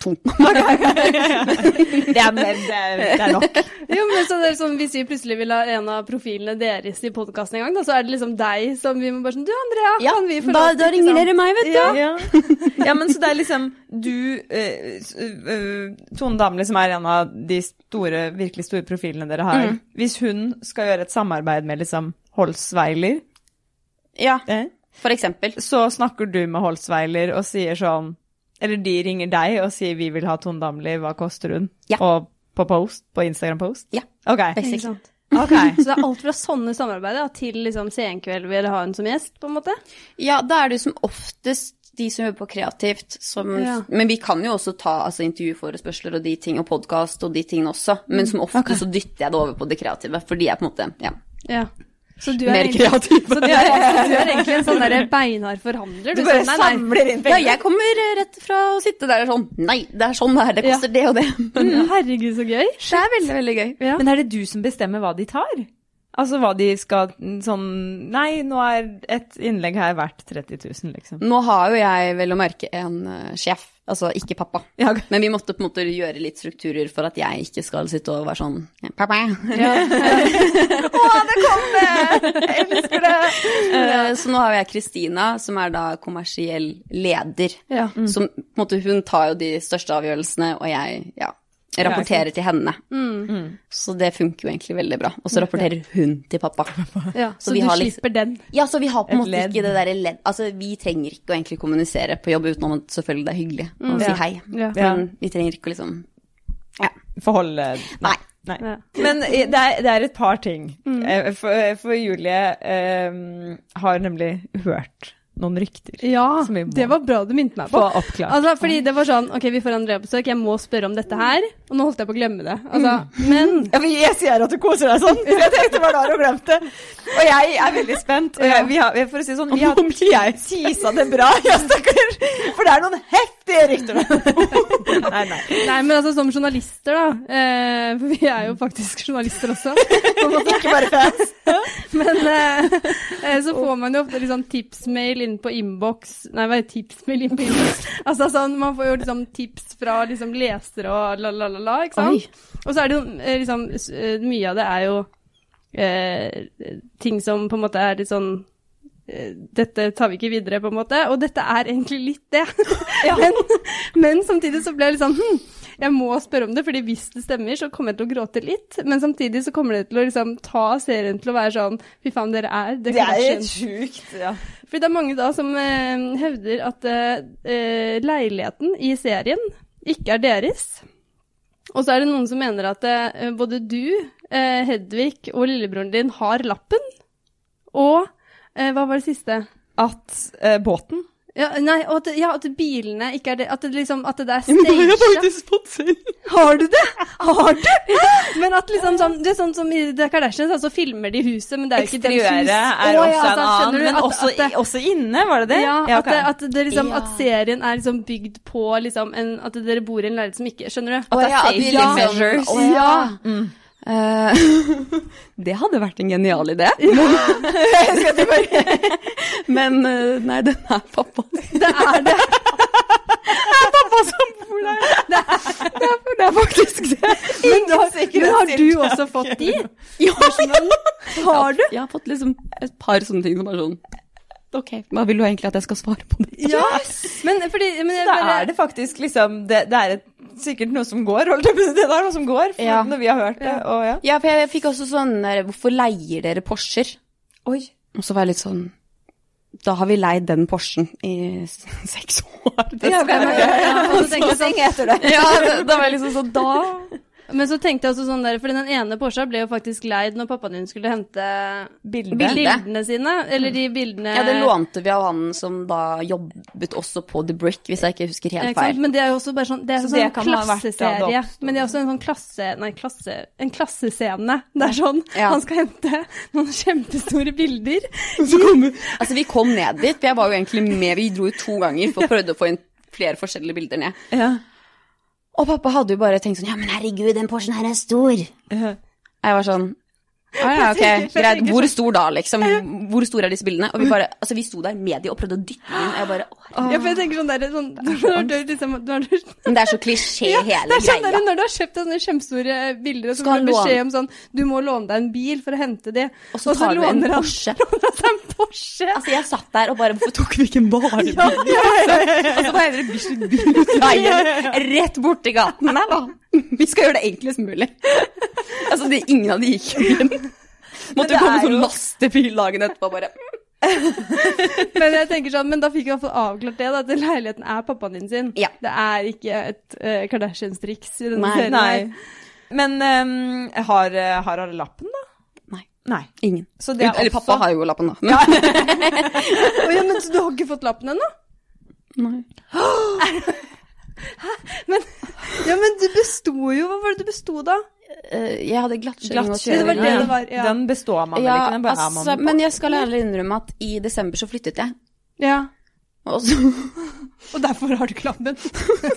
Speaker 3: to.
Speaker 1: Det er, nok. liksom.
Speaker 2: Jo, men så det er sånn, Hvis vi plutselig vil ha en av profilene deres i podkasten en gang, da, så er det liksom deg som vi må bare sånn Du, Andrea,
Speaker 3: Ja,
Speaker 2: kan vi få
Speaker 3: da,
Speaker 2: lov til, liksom
Speaker 3: da
Speaker 2: ikke
Speaker 3: ringer
Speaker 2: sant?
Speaker 3: dere meg, vet du.
Speaker 1: Ja. ja, men så det er liksom du eh, s- eh, Tone Damli, som er en av de store, virkelig store profilene dere har. Hvis hun skal gjøre et samarbeid med liksom Holsweiler,
Speaker 3: Ja,
Speaker 1: eh,
Speaker 3: for eksempel.
Speaker 1: så snakker du med Holsweiler og sier sånn Eller de ringer deg og sier 'vi vil ha Tone Damli, hva koster hun?'
Speaker 3: Ja.
Speaker 1: Og på post, på Instagram-post?
Speaker 3: Ja.
Speaker 1: Ok.
Speaker 3: Basic.
Speaker 2: Ikke sant?
Speaker 1: ok.
Speaker 2: Så det er alt fra sånne samarbeid da, til liksom Senkveld vil ha henne som gjest, på en måte?
Speaker 3: Ja, da er det jo som oftest de som jobber på kreativt som
Speaker 2: Ja.
Speaker 3: Men vi kan jo også ta altså, intervjuforespørsler og de ting, og podkast og de tingene også. Men som ofte så dytter jeg det over på det kreative, for de er på en måte ja,
Speaker 2: Ja. Så du
Speaker 3: mer
Speaker 2: er egentlig,
Speaker 3: kreative.
Speaker 2: så du er, så du er egentlig en sånn derre beinhard forhandler?
Speaker 1: Du
Speaker 2: er
Speaker 1: bare
Speaker 2: sånn, nei, nei.
Speaker 1: samler inn
Speaker 3: Ja,
Speaker 1: penger.
Speaker 3: jeg kommer eh, rett fra å sitte der og sånn Nei, det er sånn det er. Det koster det og det.
Speaker 2: Mm, Herregud, så gøy.
Speaker 3: Det er veldig, veldig gøy.
Speaker 2: Ja.
Speaker 1: Men er det du som bestemmer hva de tar? Altså hva de skal sånn Nei, nå er et innlegg her verdt 30 000, liksom.
Speaker 3: Nå har jo jeg vel å merke en eh, sjef, altså ikke pappa.
Speaker 1: Ja, ok.
Speaker 3: Men vi måtte på en måte gjøre litt strukturer for at jeg ikke skal sitte og være sånn Pappa!
Speaker 1: Jeg elsker det!
Speaker 3: Eh, Så nå har jeg Kristina, som er da kommersiell leder.
Speaker 2: Ja. Mm.
Speaker 3: Som på en måte Hun tar jo de største avgjørelsene, og jeg ja, rapporterer til henne.
Speaker 2: Mm.
Speaker 1: Mm.
Speaker 3: Så det funker jo egentlig veldig bra. Og så rapporterer hun til pappa.
Speaker 2: Ja, Mm.
Speaker 3: Så
Speaker 2: så,
Speaker 3: vi
Speaker 2: du
Speaker 3: har liksom-
Speaker 2: slipper den.
Speaker 3: Ja, så vi har på en
Speaker 1: Et
Speaker 3: måte
Speaker 1: ledd.
Speaker 3: ikke det derre ledd Altså, vi trenger ikke å egentlig kommunisere på jobb utenom at selvfølgelig det er hyggelig å si
Speaker 1: Ja.
Speaker 3: hei.
Speaker 2: Mm. Ja.
Speaker 1: Ja.
Speaker 3: Men vi trenger ikke å liksom
Speaker 1: Forholde
Speaker 3: Nei.
Speaker 1: Nei.
Speaker 2: Ja.
Speaker 1: Men eh, det er, det er et par ting. Eh, For, for Julie eh, har nemlig hørt noen rykter.
Speaker 2: Ja,
Speaker 1: Som vi må-
Speaker 2: det var bra du minte meg på.
Speaker 1: Få oppklart.
Speaker 2: Altså, fordi det var sånn, ok, vi får Andrea på besøk, jeg må spørre om dette her, og nå holdt jeg på å glemme det. Altså,
Speaker 1: Mm.
Speaker 2: men,
Speaker 1: Ja, men jeg sier at du koser deg sånn, så jeg tenkte bare da har du glemt det. Og jeg er veldig spent. Og jeg, vi har, for å si det sånn, vi har jeg tisa det bra, ja, stakkar. For det er noen heftige rykter. Nei, nei.
Speaker 2: nei, men altså som journalister da, eh, for vi er jo faktisk journalister også, på en måte.
Speaker 1: Ikke bare fans.
Speaker 2: men eh, eh, så får man jo ofte liksom tipsmail inn på inbox, nei, hva er det? tipsmail inn på inbox? Altså sånn, man får jo liksom tips fra liksom lesere og la la la la, ikke sant? Og så er det jo eh, liksom, s- eh, mye av det er jo eh, ting som på en måte er litt sånn eh, dette tar vi ikke videre, på en måte. Og dette er egentlig litt det. men, men samtidig så ble jeg litt sånn hm, jeg må spørre om det, fordi hvis det stemmer, så kommer jeg til å gråte litt. Men samtidig så kommer det til å liksom ta serien til å være sånn fy faen, dere er The
Speaker 1: Det er helt
Speaker 2: Kardashians.
Speaker 1: sjukt. Ja.
Speaker 2: Fordi det er mange da som eh, hevder at eh, eh, leiligheten i serien ikke er deres. Og så er det noen som mener at eh, både du, eh, Hedvig og lillebroren din har lappen. Og eh, hva var det siste?
Speaker 1: At eh, båten
Speaker 2: Ja, nei, og at, ja, at bilene ikke er det At det liksom At det er staged.
Speaker 1: fått selv.
Speaker 2: Har du det?! Har du?! Men at liksom sånn Det er sånn som i The Kardashians, altså filmer de huset, men det er jo ikke deres hus.
Speaker 1: Eksteriøret er
Speaker 2: Å,
Speaker 1: også
Speaker 2: ja,
Speaker 1: en
Speaker 2: sant, skjønner
Speaker 1: annen,
Speaker 2: du?
Speaker 1: men
Speaker 2: At-
Speaker 1: også,
Speaker 2: at det-
Speaker 1: i- også inne, var det det?
Speaker 2: Ja, at,
Speaker 1: ok.
Speaker 2: det, at, det liksom,
Speaker 3: Ja.
Speaker 2: at serien er liksom bygd på liksom en, at dere bor i en leilighet som ikke Skjønner du?
Speaker 3: At det er safety
Speaker 2: ja.
Speaker 3: measures.
Speaker 2: Å, ja.
Speaker 1: Mm.
Speaker 3: Eh, det hadde vært en genial idé. Men eh, nei, den er pappa.
Speaker 2: Det er det.
Speaker 3: Det er faktisk det.
Speaker 2: Men, har- men har du
Speaker 1: sikkerhetstiltak.
Speaker 2: også fått de?
Speaker 3: Ja,
Speaker 2: Har du?
Speaker 3: Jeg har fått liksom et par sånne ting som er sånn Ok, hva vil du egentlig at jeg skal svare på det?
Speaker 2: Ja. Men fordi men jeg
Speaker 1: Da
Speaker 2: bare,
Speaker 1: er det faktisk liksom Det, det er et, sikkert noe som går, holdt jeg på å si. Det er noe som går, for,
Speaker 3: Ja.
Speaker 1: når vi har hørt det. Og ja.
Speaker 3: Ja, for jeg fikk også sånn der, Hvorfor leier dere Porscher?
Speaker 1: Oi.
Speaker 3: Og så var jeg litt sånn Da har vi leid den Porschen i s- seks år. Det
Speaker 1: Ja,
Speaker 3: skal
Speaker 1: men-
Speaker 3: jeg gjøre.
Speaker 2: ja, og så tenker jeg sånn,
Speaker 1: etter det.
Speaker 3: Ja, da- da var jeg liksom sånn Da
Speaker 2: men så tenkte jeg også sånn der, for den ene Porscha ble jo faktisk leid når pappaen din skulle hente
Speaker 1: Bildet.
Speaker 2: bildene sine. Eller de bildene
Speaker 3: Ja, det lånte vi av han som da jobbet også på The Brick, hvis jeg ikke husker
Speaker 2: Ja,
Speaker 3: helt
Speaker 2: ikke sant?
Speaker 3: feil.
Speaker 2: Men det er jo også bare sånn, det er
Speaker 1: Så
Speaker 2: sånn
Speaker 1: det kan ha vært da det
Speaker 2: klasseserie.
Speaker 1: oppsto.
Speaker 2: Men det er også en sånn klasse... Nei, klasse, en klassescene. Det er sånn,
Speaker 3: Ja.
Speaker 2: han skal hente noen kjempestore bilder.
Speaker 3: Altså, vi kom ned dit, for jeg var jo egentlig med. Vi dro jo to ganger for prøvde å få inn flere forskjellige bilder ned.
Speaker 1: Ja.
Speaker 3: Og pappa hadde jo bare tenkt sånn Ja, men herregud, den Porschen her er stor. Jeg var sånn Ah, ja, ok,
Speaker 1: For jeg
Speaker 3: greit.
Speaker 1: tenker
Speaker 3: Hvor stor da, liksom? Hvor store er disse bildene? Og vi bare, altså vi sto der med de og prøvde å dytte dem inn, og jeg bare, åh, herregud.
Speaker 2: Ja, for jeg tenker sånn der, sånn, når du, liksom, når du,
Speaker 3: Men det er så klisjé
Speaker 2: ja, det
Speaker 3: hele
Speaker 2: er sånn der,
Speaker 3: greia.
Speaker 2: når du har kjøpt sånne kjempestore bilder, og så får du
Speaker 3: Skal han låne-
Speaker 2: beskjed om sånn Du må låne deg en bil for å hente de,
Speaker 3: Og så tar du en
Speaker 2: låner han
Speaker 3: Porsche.
Speaker 2: låner seg en Porsche.
Speaker 3: Altså jeg satt der og bare, hvorfor tok vi ikke en barnebil? Og så var jeg dere Bislett Bilveien rett borti gaten der da. Vi skal gjøre det enklest mulig. Altså det, ingen av de gikk jo inn. Måtte
Speaker 1: det
Speaker 3: jo komme
Speaker 1: er
Speaker 3: sånn
Speaker 1: jo-
Speaker 3: lastebil dagen etterpå bare.
Speaker 2: Men jeg tenker sånn, men da fikk vi i hvert fall avklart det, da, at leiligheten er pappaen din sin.
Speaker 3: Ja.
Speaker 2: Det er ikke et eh, Kardashians-triks i denne
Speaker 3: Nei,
Speaker 2: serien.
Speaker 1: Nei.
Speaker 2: her.
Speaker 1: Men ehm, har, eh, har alle lappen, da?
Speaker 3: Nei.
Speaker 1: Nei.
Speaker 3: Ingen.
Speaker 1: Så det er
Speaker 3: Eller
Speaker 1: også-
Speaker 3: pappa har jo lappen da. Men-
Speaker 2: Å, ja, men så du har ikke fått lappen ennå?
Speaker 3: Nei.
Speaker 2: Ja, men du besto jo. Hva var det du besto da?
Speaker 3: Eh, Jeg hadde glattskjøring og
Speaker 1: Glattkjøring.
Speaker 2: Det var det
Speaker 1: ja.
Speaker 2: det var, ja.
Speaker 1: Den består man vel ikke? Den bare er man
Speaker 3: altså,
Speaker 1: på.
Speaker 3: men jeg skal ærlig innrømme at i desember så flyttet jeg.
Speaker 2: Ja.
Speaker 3: Og så,
Speaker 2: Og derfor har du ikke lappen.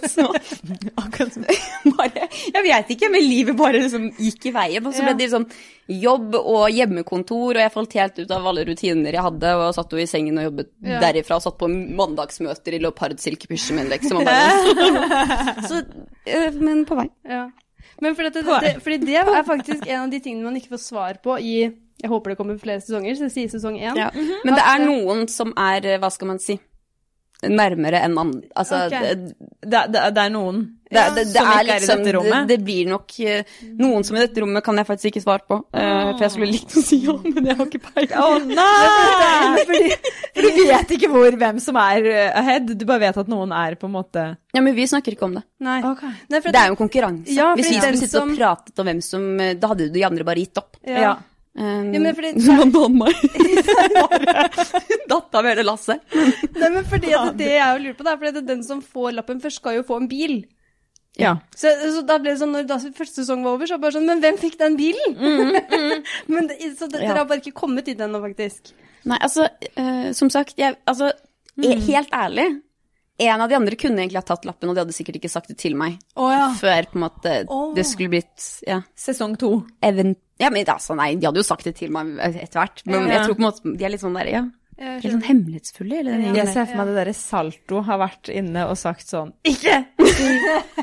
Speaker 3: så bare Jeg vet ikke, men livet bare liksom gikk i veien. Og så ble
Speaker 2: Ja.
Speaker 3: det sånn jobb og hjemmekontor, og jeg falt helt ut av alle rutiner jeg hadde, og satt jo i sengen og jobbet
Speaker 2: Ja.
Speaker 3: derifra, og satt på mandagsmøter i leopardsilkepysjen min, liksom. Og bare, så, eh, men på vei.
Speaker 2: Ja. Men fordi, det, det, fordi det er faktisk en av de tingene man ikke får svar på i Jeg håper det kommer flere sesonger, så jeg sier sesong én.
Speaker 3: Ja. Men det er noen som er, eh, hva skal man si, nærmere enn andre. Altså,
Speaker 2: Ok.
Speaker 3: det-
Speaker 1: det, det, det er noen
Speaker 3: Det, det, det,
Speaker 1: som ikke
Speaker 3: er
Speaker 1: er liksom i
Speaker 3: litt sånn,
Speaker 1: dette
Speaker 3: det,
Speaker 1: rommet.
Speaker 3: det blir nok eh, Noen som i dette rommet kan jeg faktisk ikke svare på. eh, for jeg skulle likt å si ja, men jeg har ikke
Speaker 1: Å
Speaker 3: peiling.
Speaker 1: nei! For du vet ikke hvor, hvem som er eh, ahead, du bare vet at noen er på en måte
Speaker 3: Ja, men vi snakker ikke om det.
Speaker 2: Nei. Nei, for
Speaker 3: Det er jo en konkurranse.
Speaker 2: Ja,
Speaker 3: Hvis
Speaker 2: fordi
Speaker 3: vi
Speaker 2: den
Speaker 3: skulle sittet
Speaker 2: som-
Speaker 3: og pratet om hvem som eh, Da hadde jo de andre bare gitt opp.
Speaker 2: ja.
Speaker 1: Ja.
Speaker 3: Um,
Speaker 2: Ja, men fordi-
Speaker 3: så han banna meg. Datt av hele lasset.
Speaker 2: Nei, men fordi at det jeg jo lurer på, det er fordi at den som får lappen først, skal jo få en bil.
Speaker 1: ja.
Speaker 2: Så, så da ble det sånn, når da første sesong var over, så var det bare sånn Men hvem fikk den bilen? men det, så det,
Speaker 3: Mm, Ja.
Speaker 2: dere har bare ikke kommet dit ennå, faktisk.
Speaker 3: Nei, altså, eh, som sagt, jeg Altså, eh, helt ærlig. En av de andre kunne egentlig ha tatt lappen, og de hadde sikkert ikke sagt det til meg
Speaker 2: Å ja.
Speaker 3: før på en måte
Speaker 2: Åh.
Speaker 3: det skulle blitt ja.
Speaker 1: Sesong to.
Speaker 3: event... Ja, men altså, nei, de hadde jo sagt det til meg etter hvert, men
Speaker 1: Ja.
Speaker 3: jeg tror på en måte de er litt sånn der, ja,
Speaker 2: Jeg
Speaker 3: litt
Speaker 2: skjønner.
Speaker 3: sånn hemmelighetsfulle, eller den gjengen
Speaker 1: Jeg
Speaker 3: der.
Speaker 1: ser for meg det derre Salto har vært inne og sagt sånn Ikke si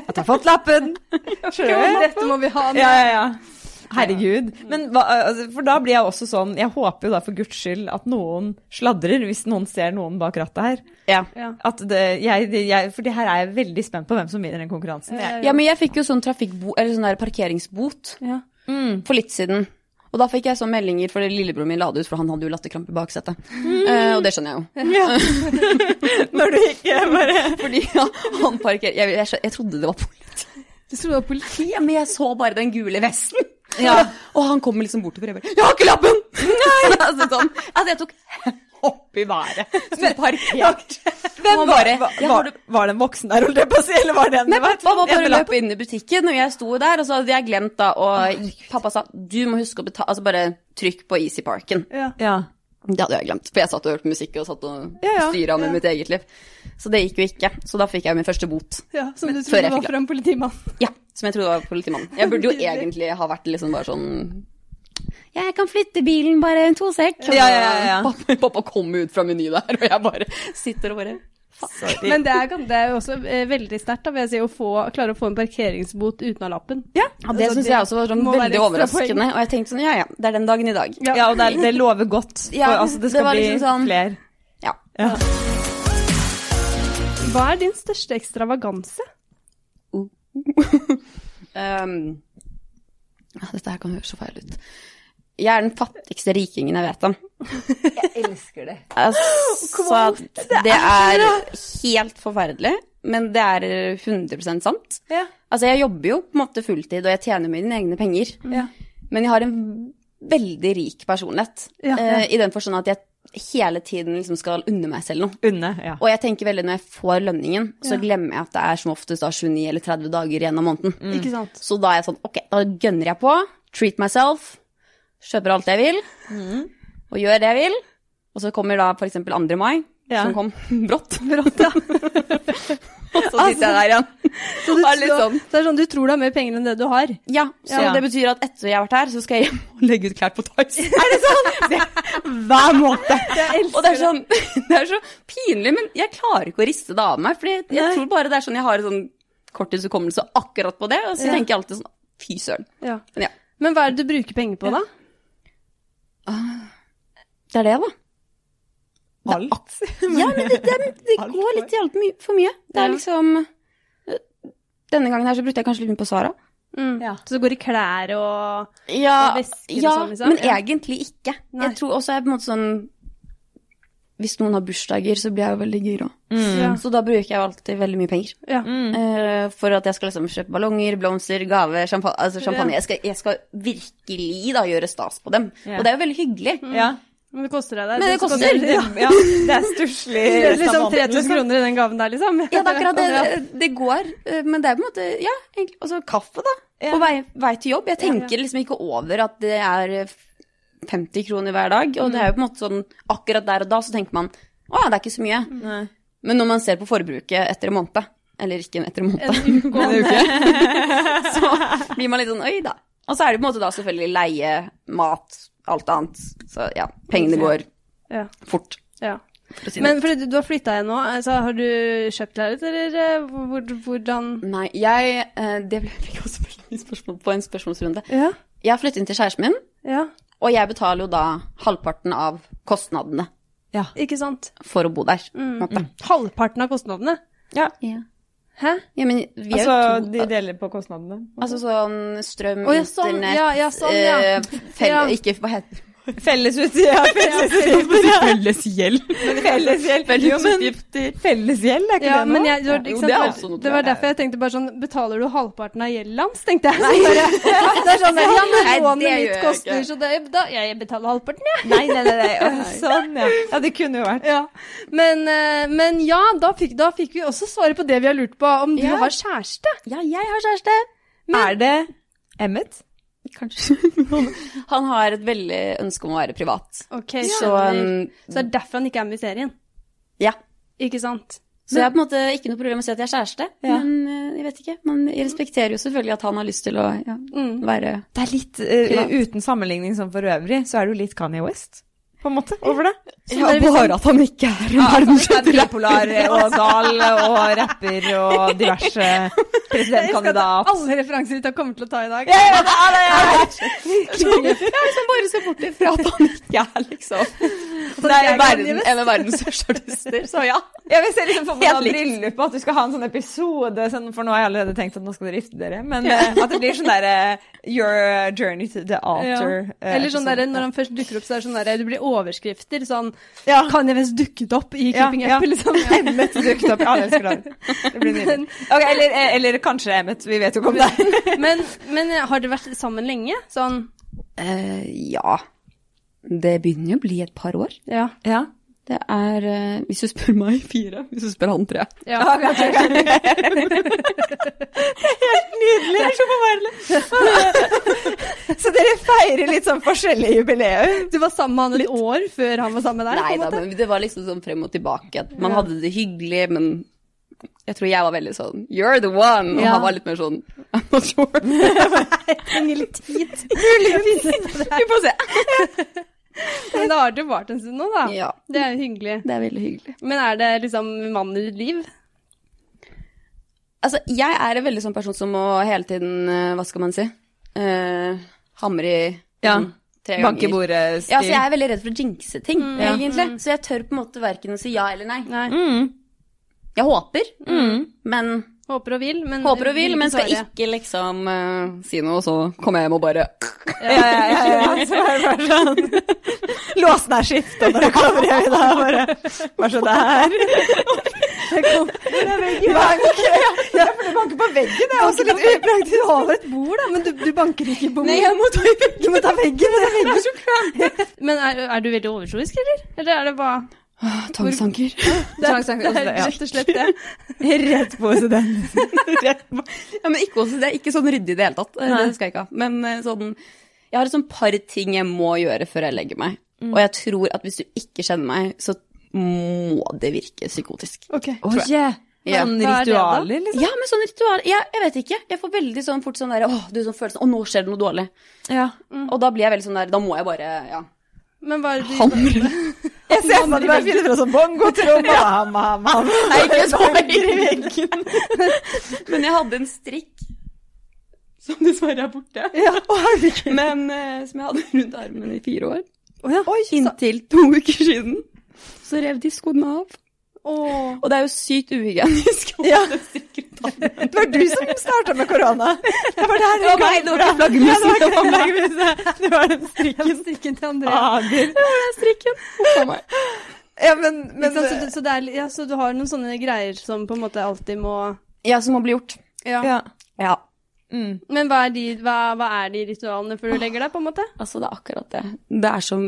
Speaker 1: at jeg har fått lappen!
Speaker 2: Men Dette må vi ha med.
Speaker 1: Ja, ja, ja. Herregud. Men hva, altså, for da blir jeg også sånn Jeg håper jo da for guds skyld at noen sladrer, hvis noen ser noen bak rattet her.
Speaker 3: Ja.
Speaker 2: Ja.
Speaker 1: At det, jeg, det- jeg, for det her er jeg veldig spent på hvem som vinner den konkurransen. Jeg,
Speaker 3: ja, men jeg fikk jo sånn trafikkbo, eller sånn der parkeringsbot
Speaker 2: Ja.
Speaker 3: for litt siden. Og da fikk jeg sånne meldinger, for lillebroren min la det ut, for han hadde jo latterkrampe i baksetet. Eh, og det skjønner jeg jo.
Speaker 1: når du ikke bare
Speaker 3: Fordi ja, han parkerer jeg, jeg, skjø- jeg trodde det var politi.
Speaker 2: Du trodde det var politi?
Speaker 3: Ja, men jeg så bare den gule vesten. Og han kommer liksom bortover, jeg bare Jeg har ikke lappen! altså, sånn. altså, jeg tok
Speaker 1: opp i været.
Speaker 3: sto parkert.
Speaker 1: Hvem
Speaker 3: Han
Speaker 1: var
Speaker 3: bare,
Speaker 1: det? Var,
Speaker 3: «Ja,
Speaker 1: var,
Speaker 3: har
Speaker 1: var det en voksen der, holdt jeg på å si, eller var det en
Speaker 3: Nei, pappa var
Speaker 1: en
Speaker 3: bare
Speaker 1: med lapp?
Speaker 3: løp inn i butikken, og jeg sto der, og så hadde jeg glemt da, og pappa sa, du må huske å betale, altså bare trykk på Easy Parken.
Speaker 2: Ja.
Speaker 1: Ja.
Speaker 3: Det hadde jeg glemt, for jeg satt og hørte musikk og satt og
Speaker 1: Ja, ja.
Speaker 3: styret med mitt eget liv. Så det gikk jo ikke, så da fikk jeg min første bot.
Speaker 2: ja som du
Speaker 3: før jeg
Speaker 2: trodde var
Speaker 3: fikk
Speaker 2: fra en politimann.
Speaker 3: Ja, som jeg trodde var politimannen. Jeg burde jo egentlig ha vært liksom bare sånn, jeg kan flytte bilen bare en to sekk.
Speaker 1: Ja, ja, ja, ja.
Speaker 3: Pappa, pappa kom ut fra meny der, og jeg bare sitter og bare,
Speaker 1: Sorry.
Speaker 2: Men det er, kan- det er jo også eh, veldig sterkt, da, vil jeg si, å få, klare å få en parkeringsbot uten å ha lappen.
Speaker 1: ja.
Speaker 3: ja, det synes jeg også var sånn
Speaker 2: må være
Speaker 3: veldig
Speaker 2: ekstra poeng.
Speaker 3: overraskende, og jeg tenkte sånn, ja, ja, det er den dagen i dag.
Speaker 1: ja, og det, er- det lover godt. For,
Speaker 3: Ja,
Speaker 1: altså, det
Speaker 3: det
Speaker 1: skal
Speaker 3: var
Speaker 1: bli
Speaker 3: liksom sånn-
Speaker 1: flere.
Speaker 3: Ja.
Speaker 1: Ja.
Speaker 2: Hva er din største ekstravaganse?
Speaker 3: Ehm, ja, dette her kan høres så feil ut. Jeg er den fattigste rikingen jeg vet om. Jeg elsker det. Altså, det er helt forferdelig, men det er 100 sant.
Speaker 1: Ja.
Speaker 3: Altså, jeg jobber jo på en måte fulltid, og jeg tjener mine egne penger.
Speaker 1: Ja.
Speaker 3: Men jeg har en veldig rik personlighet,
Speaker 2: Ja.
Speaker 3: eh, i den forstand at jeg hele tiden liksom skal unne meg selv noe.
Speaker 1: Unne. Ja.
Speaker 3: Og jeg tenker veldig når jeg får lønningen, så glemmer jeg at det er som oftest da 29 eller 30 dager igjen av måneden.
Speaker 2: Ikke sant?
Speaker 3: Så da er jeg sånn, ok, da gønner jeg på, treat myself, Mm. kjøper alt jeg vil, og gjør det jeg vil. Og så kommer da for eksempel 2. mai,
Speaker 1: Ja.
Speaker 3: som kom brått. og så sitter jeg der igjen.
Speaker 2: Så, du,
Speaker 3: Det er litt
Speaker 2: så,
Speaker 3: sånn.
Speaker 2: så det er sånn, du tror du har mer penger enn det du har.
Speaker 3: Ja, Så
Speaker 1: Ja.
Speaker 3: det betyr at etter jeg har vært her, så skal jeg hjem og legge ut klær på Tice.
Speaker 1: Er det sånn? Hver måned.
Speaker 2: Jeg elsker
Speaker 3: Og det er, sånn, det er så pinlig, men jeg klarer ikke å riste det av meg. For jeg
Speaker 2: Nei.
Speaker 3: tror bare det er sånn jeg har en sånn korttidshukommelse akkurat på det. Og så
Speaker 2: Ja.
Speaker 3: tenker jeg alltid sånn Fy søren.
Speaker 2: Ja.
Speaker 3: Men ja.
Speaker 2: Men hva er det du bruker penger på, da?
Speaker 3: Det er det, da.
Speaker 1: Alt.
Speaker 3: Ja, men det, det, det
Speaker 1: Alt
Speaker 3: går
Speaker 1: for-
Speaker 3: litt i alt my for mye. Det
Speaker 2: Ja.
Speaker 3: er liksom Denne gangen her så brukte jeg kanskje litt mye på Sara.
Speaker 2: Mm.
Speaker 3: Ja.
Speaker 2: Så det går i klær og
Speaker 3: Ja,
Speaker 2: Og vesker og
Speaker 3: ja
Speaker 2: sånn, liksom.
Speaker 3: men
Speaker 2: Ja.
Speaker 3: egentlig ikke.
Speaker 2: Nei.
Speaker 3: Jeg tror også jeg er på en måte sånn Hvis noen har bursdager, så blir jeg jo veldig gira.
Speaker 2: Mm. Ja.
Speaker 3: Så da bruker jeg jo alltid veldig mye penger.
Speaker 2: ja.
Speaker 1: Mm.
Speaker 3: Eh, for at jeg skal liksom kjøpe ballonger, blomster, gave, champagne. Altså champagne. Jeg, skal, jeg skal virkelig da gjøre stas på dem.
Speaker 1: Ja.
Speaker 3: Og det er jo veldig hyggelig.
Speaker 1: Ja.
Speaker 2: Men det koster deg det.
Speaker 3: Men det
Speaker 2: Du skal-
Speaker 3: koster.
Speaker 1: Det,
Speaker 2: Ja.
Speaker 1: ja, det er stusslig.
Speaker 2: Det er liksom
Speaker 1: samme måten,
Speaker 2: 3000
Speaker 1: liksom.
Speaker 2: kroner i den gaven der, liksom.
Speaker 3: Ja, det er akkurat
Speaker 2: Ja.
Speaker 3: det. Det går. eh, Men det er på en måte Ja, egentlig. Og så kaffe, da.
Speaker 1: Ja.
Speaker 3: På vei, vei til jobb. Jeg tenker liksom ikke over at det er eh, 50 kroner hver dag. Og det er jo på en måte sånn akkurat der og da så tenker man å ja, det er ikke så mye.
Speaker 1: Nei.
Speaker 3: Men når man ser på forbruket etter en måned, eller ikke etter en måned,
Speaker 2: En uke
Speaker 3: en uke, så blir man litt sånn oi da. Og så er det på en måte da selvfølgelig leie, mat, alt annet. Så ja, pengene går
Speaker 2: Ja.
Speaker 3: fort.
Speaker 2: Ja.
Speaker 3: For å si det.
Speaker 2: Men fordi du, du har flytta igjen nå, altså, har du kjøpt klær, eller eh, hvor, hvordan
Speaker 3: Nei, jeg eh, Det ble fikk jeg også veldig mye spørsmål på en spørsmålsrunde.
Speaker 2: Ja.
Speaker 3: Jeg har flyttet inn til kjæresten min,
Speaker 2: ja.
Speaker 3: og jeg betaler jo da halvparten av kostnadene
Speaker 2: Ikke sant.
Speaker 3: for å bo der. på
Speaker 2: Mm.
Speaker 3: en måte.
Speaker 2: Halvparten av kostnadene.
Speaker 1: Ja.
Speaker 3: Ja.
Speaker 2: Hæ?
Speaker 3: ja, men vi er
Speaker 1: Altså,
Speaker 3: jo to
Speaker 1: de deler på kostnadene.
Speaker 3: Altså sånn strøm,
Speaker 2: Å, ja, sånn.
Speaker 3: internett
Speaker 2: Ja, ja, sånn, ja.
Speaker 3: eh, fell,
Speaker 2: Ja.
Speaker 3: Ikke hva heter
Speaker 1: Fellesutgifter. Ja, fellesutgifter. Fellesgjeld. Fellesgjeld. Jo, men fellesgjeld, er ikke
Speaker 2: Ja,
Speaker 1: det noe?
Speaker 2: men jeg, det, var,
Speaker 3: Jo,
Speaker 2: ikke
Speaker 3: det er
Speaker 2: sant,
Speaker 3: også
Speaker 2: det,
Speaker 3: noe,
Speaker 2: var,
Speaker 3: tror jeg.
Speaker 2: derfor jeg tenkte bare sånn Betaler du halvparten av gjelden hans, tenkte jeg. Så bare, det er sånn, ja, men
Speaker 3: Nei, det
Speaker 2: lånet
Speaker 3: gjør
Speaker 2: mitt
Speaker 3: jeg
Speaker 2: koster,
Speaker 3: ikke.
Speaker 2: så det, da, jeg betaler halvparten, jeg.
Speaker 1: Nei, nei, nei. nei. Å, Sånn, ja. Ja, det kunne jo vært.
Speaker 2: Ja. Men, eh, men ja, da fikk, da fikk vi også svaret på det vi har lurt på, om
Speaker 3: Ja.
Speaker 2: du har kjæreste.
Speaker 3: Ja, jeg har kjæreste.
Speaker 2: Men-
Speaker 1: Er det Emmet?
Speaker 3: Kanskje. Han har et veldig ønske om å være privat.
Speaker 2: Ok,
Speaker 3: Så,
Speaker 2: skjønner.
Speaker 3: um,
Speaker 2: eh, Så det er derfor han ikke er med i serien.
Speaker 3: ja.
Speaker 2: Ikke sant?
Speaker 3: Så jeg har på en måte ikke noe problem med å si at jeg er kjæreste.
Speaker 1: Ja.
Speaker 3: Men eh, jeg vet ikke. Man jeg respekterer jo selvfølgelig at han har lyst til å ja,
Speaker 2: Mm.
Speaker 3: være
Speaker 1: Det er litt, eh,
Speaker 3: Privat.
Speaker 1: uten sammenligning som for øvrig, så er det jo litt Kanye West, på en måte, over det.
Speaker 2: Så dere vil sånn-
Speaker 3: liksom- at han ikke er en
Speaker 1: altså, bipolar og dal og rapper og diverse
Speaker 2: Jeg elsker at
Speaker 1: presidentkandidat.
Speaker 2: Alle referanser vi kommer til å ta i dag.
Speaker 1: Ja, det er det!
Speaker 3: som liksom bare ser bort ifra at han ikke er liksom
Speaker 1: Det er
Speaker 3: verden, en av verdens største artister. Så ja.
Speaker 1: Ja, vi ser liksom for meg
Speaker 3: Helt likt.
Speaker 1: bryllupet, at du skal ha en sånn episode, sånn, for nå har jeg allerede tenkt at nå skal dere gifte dere, men eh, at det blir sånn derre Your journey to the altar. eh,
Speaker 2: Eller sånn der,
Speaker 1: episode.
Speaker 2: når han først dukker opp, så er det sånn der, det blir overskrifter. Sånn
Speaker 1: ja.
Speaker 2: Kan jeg visst dukket opp i
Speaker 1: Ja,
Speaker 2: Keeping
Speaker 1: ja.
Speaker 2: Up? Liksom.
Speaker 1: Emmet dukket opp. Ja, jeg elsker det. Det blir nydelig. Ok, eller, eh, eller kanskje Emmet. Vi vet jo ikke om det. er-
Speaker 2: Men, men eh, har dere vært sammen lenge? Sånn
Speaker 3: Eh, ja. Det begynner jo å bli et par år.
Speaker 2: Ja.
Speaker 1: Ja.
Speaker 3: Det er, eh, hvis du spør meg, fire. Hvis du spør han, tre.
Speaker 2: ja.
Speaker 1: Nydelig. Det er så forferdelig. Så dere feirer litt sånn forskjellige jubileer.
Speaker 2: Du var sammen med han et år før han var sammen med deg?
Speaker 3: Nei
Speaker 2: på en
Speaker 3: da,
Speaker 2: måte?
Speaker 3: men det var liksom sånn frem og tilbake. At man
Speaker 2: Ja.
Speaker 3: hadde det hyggelig, men jeg tror jeg var veldig sånn You're the one! Og
Speaker 2: Ja.
Speaker 3: han var litt mer sånn I'm not sure.
Speaker 2: Trenger litt tid.
Speaker 3: Vi får se.
Speaker 2: Men da har dere vart en stund nå, da.
Speaker 3: Ja,
Speaker 2: Det er jo hyggelig.
Speaker 3: det er veldig hyggelig.
Speaker 2: Men er det liksom mannen i ditt liv?
Speaker 3: Altså, jeg er en veldig sånn person som må hele tiden eh, Hva skal man si? eh, hamre i
Speaker 1: Ja.
Speaker 3: sånn tre ganger.
Speaker 1: Bankebordet-stil.
Speaker 3: Ja, så jeg er veldig redd for å jinxe ting,
Speaker 1: ja.
Speaker 3: egentlig. Så jeg tør på en måte verken å si ja eller nei.
Speaker 2: Nei.
Speaker 1: mm.
Speaker 3: Jeg håper,
Speaker 1: Mm.
Speaker 3: men
Speaker 2: Håper og vil, men
Speaker 3: håper og vil, men skal
Speaker 2: svare.
Speaker 3: ikke liksom eh, si noe, så kommer jeg hjem og bare
Speaker 1: Ja, ja, ja, ja, ja. Så er det bare sånn Låsen er skifta når du kommer hjem i dag. Bare, bare sånn, så der. Bank. Ja, ja, for det banker på veggen. Det er også litt upraktisk. Du har et bord, da, men du, du banker ikke på
Speaker 2: Nei,
Speaker 1: jeg må ta veggen. Du må ta veggen, men det er veggen som
Speaker 2: Men er, er du veldig overtroisk, eller? Eller er det bare
Speaker 3: Tvangstanker.
Speaker 2: Det er
Speaker 1: ja.
Speaker 2: rett og slett det.
Speaker 1: Rett på OCD.
Speaker 3: Ja, men ikke, også- det er ikke sånn ryddig i det hele tatt. Eh,
Speaker 1: Nei.
Speaker 3: Det skal jeg ikke ha. Men eh, sånn
Speaker 1: Mm.
Speaker 3: Jeg har et sånn par ting jeg må gjøre før jeg legger meg. Og jeg tror at hvis du ikke kjenner meg, så må det virke psykotisk.
Speaker 2: Ok.
Speaker 1: Oi,
Speaker 2: Ja.
Speaker 1: Sånn
Speaker 2: Hva er det da?
Speaker 1: ritualer, liksom?
Speaker 3: Ja, men sånn ritual ja, Jeg vet ikke. Jeg får veldig sånn fort sånn der Åh, du sånn følelsen Å, nå skjer det noe dårlig.
Speaker 1: Ja.
Speaker 3: Og da blir jeg veldig sånn der Da må jeg bare Ja.
Speaker 2: Men hva er det du
Speaker 3: Hamre.
Speaker 1: Jeg ser for meg at du bare finner fra sånn bongotromme ham, ham, ham.
Speaker 3: Nei, ikke
Speaker 1: sånn.
Speaker 3: så høyre i veggen. Men jeg hadde en strikk som dessverre er borte. Men eh, som jeg hadde rundt armen i fire år.
Speaker 2: Å ja.
Speaker 1: Oi, så-
Speaker 3: Inntil to uker siden så rev de skoene av.
Speaker 2: Åh.
Speaker 3: Og det er jo sykt uhygienisk å ha en strikk rundt armen.
Speaker 1: Det var du som starta med korona. Det var der
Speaker 3: Det var meg, det var ikke flaggermusen.
Speaker 1: Ja, det var flaggermusen. Det var den strikken.
Speaker 2: Strikken til André.
Speaker 3: Ah,
Speaker 1: Ager.
Speaker 3: Strikken. Huff a meg.
Speaker 1: Ja, men, men
Speaker 2: Ikke sant, så, så, det er, li- ja, så du har noen sånne greier som på en måte alltid må
Speaker 3: Ja, som må bli gjort.
Speaker 2: ja.
Speaker 1: eh, ja.
Speaker 3: Ja.
Speaker 1: Mm.
Speaker 2: Men hva er, de, hva, hva er de ritualene før du legger deg, på en måte?
Speaker 3: Altså, det er akkurat det. Det er som